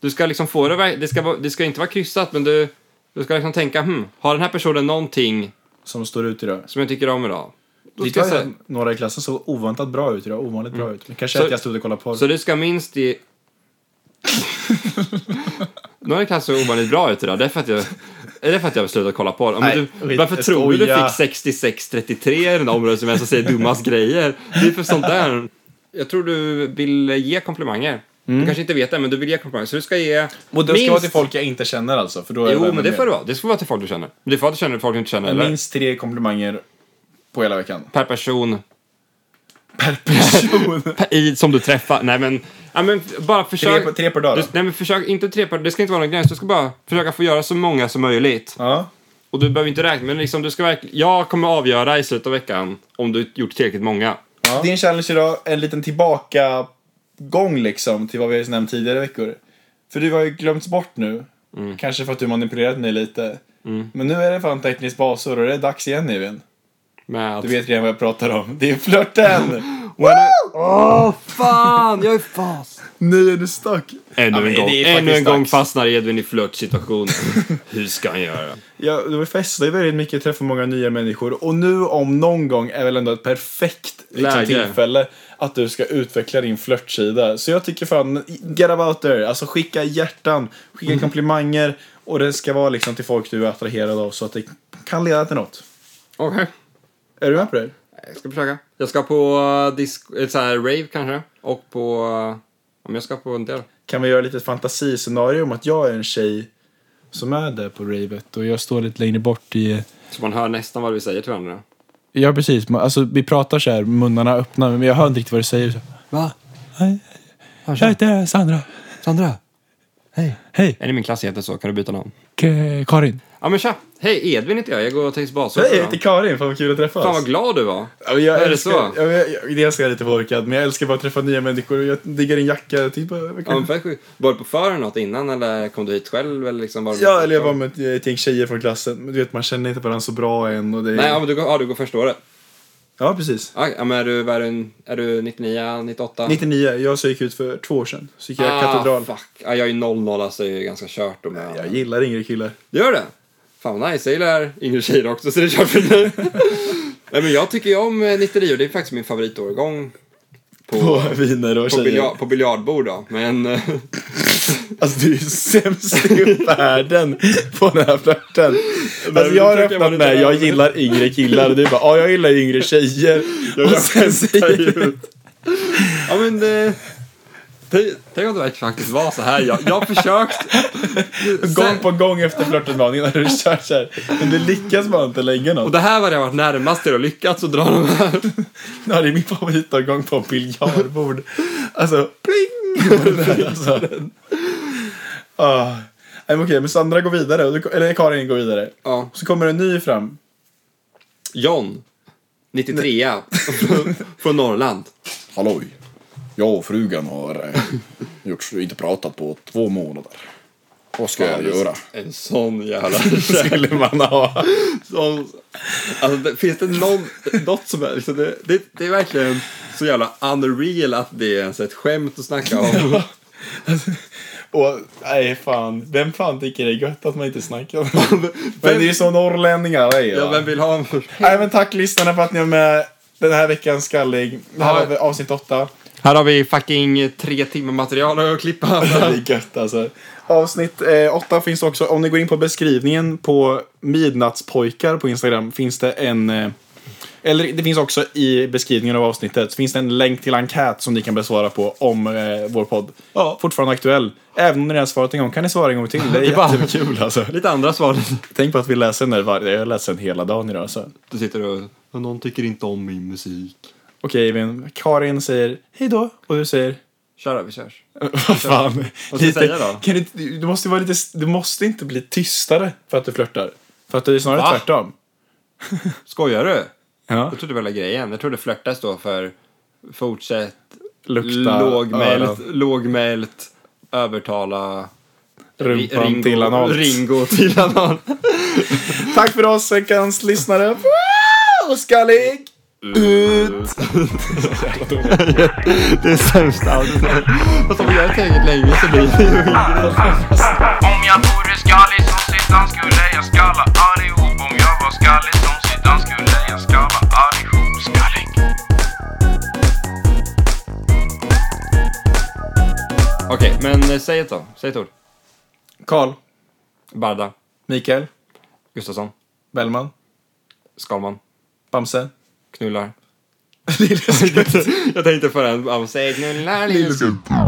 du ska liksom få det, verk- det ska, vara- det ska inte vara kryssat, men du, du ska liksom tänka, hmm, har den här personen någonting
Som står ut idag.
som jag tycker om idag? Då
Det
ska jag säga,
var några i klassen såg oväntat bra ut idag. Ovanligt bra ut. Men kanske
Så-
att jag stod och kollade på.
så du ska minst ge... Nu har det kanske så ovanligt bra ut idag, det är för att jag... Är det för att jag slutade kolla på det? Ja,
Nej,
Men du,
skit,
varför
jag
tror du du
skojar.
fick 66-33 i den där omröstningen som alltså säger dummast grejer? Det är för sånt där. Jag tror du vill ge komplimanger. Du kanske inte vet det, men du vill ge komplimanger. Så du ska ge
och det ska vara till folk jag inte känner alltså. För då är
Jo,
värmer
men det
mer.
får det vara. Det ska vara till folk du känner. Men det får vara till känner- folk du inte känner. Eller?
Minst tre komplimanger på hela veckan.
Per person
Per person.
per, i, som du träffar. Nej, men, ja, men bara försök.
Tre på- tre per dag,
Du,
då?
nej, men försök inte tre per Det ska inte vara någon gräns. Du ska bara försöka få göra så många som möjligt.
ja.
Och du behöver inte räkna, men liksom, du ska verkligen... Jag kommer avgöra i slutet av veckan om du gjort tillräckligt många.
Din challenge idag, en liten tillbaka gång liksom till vad vi har nämnt tidigare veckor. För du har ju glömts bort nu. Kanske för att du manipulerat mig lite. Men nu är det fan teknisk basår och det är dags igen Evin.
Med att,
Du vet redan vad jag pratar om. Det är flörten!
When I... Åh, fan! Jag är fast!
Nej, är du stuck?
Ännu
Ja, men
en
det är
gång,
faktiskt
ännu en
dags.
gång fastnar Edvin i flörtsituationen. Hur ska han göra?
Ja, det festar ju väldigt mycket, träffar många nya människor och nu om någon gång är väl ändå ett perfekt liksom,
Läge.
tillfälle att du ska utveckla din flörtsida. Så jag tycker fan, get about there. Alltså skicka hjärtan, skicka komplimanger och det ska vara liksom till folk du är attraherad av så att det kan leda till något.
Okej.
Är du med på det?
Jag ska försöka. Jag ska på eh, disco, ett så här rave kanske. Och på... eh, Om jag ska på en del.
Kan vi göra lite ett fantasiscenario om att jag är en tjej som är där på ravet och jag står lite längre bort i...
Så man hör nästan vad vi säger till varandra.
Ja, precis. Man- Alltså, vi pratar så här, munnarna öppna, men jag hör inte riktigt vad du säger. Så.
Va?
Jag heter Sandra.
Sandra? Hej.
Hej.
Är det min klass heter så? Kan du byta namn?
K- Karin.
Ja men tja! Hej, Edvin heter jag. Jag går och Texas Basort.
Hej, jag heter Karin. Fan vad kul att träffas.
Fan vad glad du var.
Ja, men jag
Är det
älskar,
så?
Ja, men jag, jag, det älskar jag lite orkad, men jag älskar bara att träffa nya människor. Jag diggar din jacka. typ, Jag tyckte bara,
Ja, men
verkligen-
fett sjukt. Var du på fören något innan eller kom du hit själv? Eller liksom var du-
ja, eller jag var med ett ett gäng tjejer från klassen. Men du vet, man känner inte varandra så bra än. Och det är...
Nej, ja, men du går, ja, du går första året.
Ja, precis.
Ja, ja, men är du, vad är du, är du 99, 98?
99. Jag så gick ut för två år sedan. Så gick jag
ah,
katedral.
fuck. Ja, jag är ju 00 så jag är ganska kört. Då med.
Jag gillar yngre killar.
Gör det? Fan vad nice, jag gillar yngre tjejer också så det är kört för dig. Nej men jag tycker ju om eh, 99, det är faktiskt min favoritårgång. På,
På viner och
på,
tjejer.
bilja- på biljardbord då, men... eh,
Alltså du är ju sämst i världen på den här flörten. Alltså jag har
försöker vara
öppnat
lite
med jag
ärlig.
gillar yngre killar och du bara ja jag gillar yngre tjejer. och sen säger du
ja men... eh, tänk- Tänk om det verkligen faktiskt var så här. Jag, jag har försökt.
gång på gång efter flörtutmaningen när du kör så här. Men du lyckas bara inte lägga
Och
något.
det här var det jag varit närmast till att lyckats och dra de här.
Ja, det är min favoritavgång på biljardbord. Alltså pling! på den här, Alltså. Ah. Nej, men Okej, men Sandra går vidare. och du- Eller Karin går vidare.
Ja.
Så kommer en ny fram.
John, 93 från- från Norrland.
Halloj. Jag och frugan har eh, gjort, inte pratat på två månader. Vad ska
En sån jävla...
skulle man ha.
Sån... Alltså, det, finns det någon, något som är... Liksom, det, det, det är verkligen så jävla unreal att det är ens ett skämt att snacka om.
Och, nej fan, vem fan tycker det är gött att man inte snackar om det? Men det är ju så norrlänningar det är
Ja,
va?
vem vill ha en för...
Nej men tack lyssnarna för att ni var med den här veckans skallig. Det här
Ja.
var avsnitt åtta.
Här har vi fucking tre timmar material att klippa.
Det är gött alltså. Avsnitt eh, åtta finns också, om ni går in på beskrivningen på midnattspojkar på Instagram finns det en eh, eller det finns också i beskrivningen av avsnittet så finns det en länk till enkät som ni kan besvara på om eh, vår podd.
Ja.
Fortfarande aktuell. Även om ni redan svarat en gång kan ni svara en gång till. Det är
Det är bara-
jättekul alltså.
Lite andra svar.
Tänk på att vi läser den där varje, jag läser den hela dagen idag alltså. så.
Du sitter och... Någon tycker inte om min musik.
Okej men Karin säger hej då och du säger
Kör då, vi körs.
Vad fan?
Vad ska jag säga då?
Kan du, inte- du, måste vara lite, du måste inte bli tystare för att du flörtar. För att det är snarare
Va?
tvärtom.
Skojar du?
Ja.
Jag trodde väl grejen. Jag trodde flörta står för fortsätt,
Lukta,
lågmält,
öron,
lågmält, övertala,
rumpan till analt.
Ringo till anal.
Tack för oss veckans lyssnare. Wow, skallig!
Mm.
Ut!
Det är sämsta audiot. Fast om vi gör det tillräckligt länge så blir det ju...
Om jag vore skallig som Zidane skulle jag skalla allihop Om jag var skallig som Zidane skulle jag skalla allihop Skallig
Okej, men eh, säg ett då. Säg ett ord.
Karl,
Barda,
Mikael,
Gustafsson,
Bellman,
Skalman,
Bamse.
knullar. jag tänkte på den. Ja, men Säg knullar, lille skutt.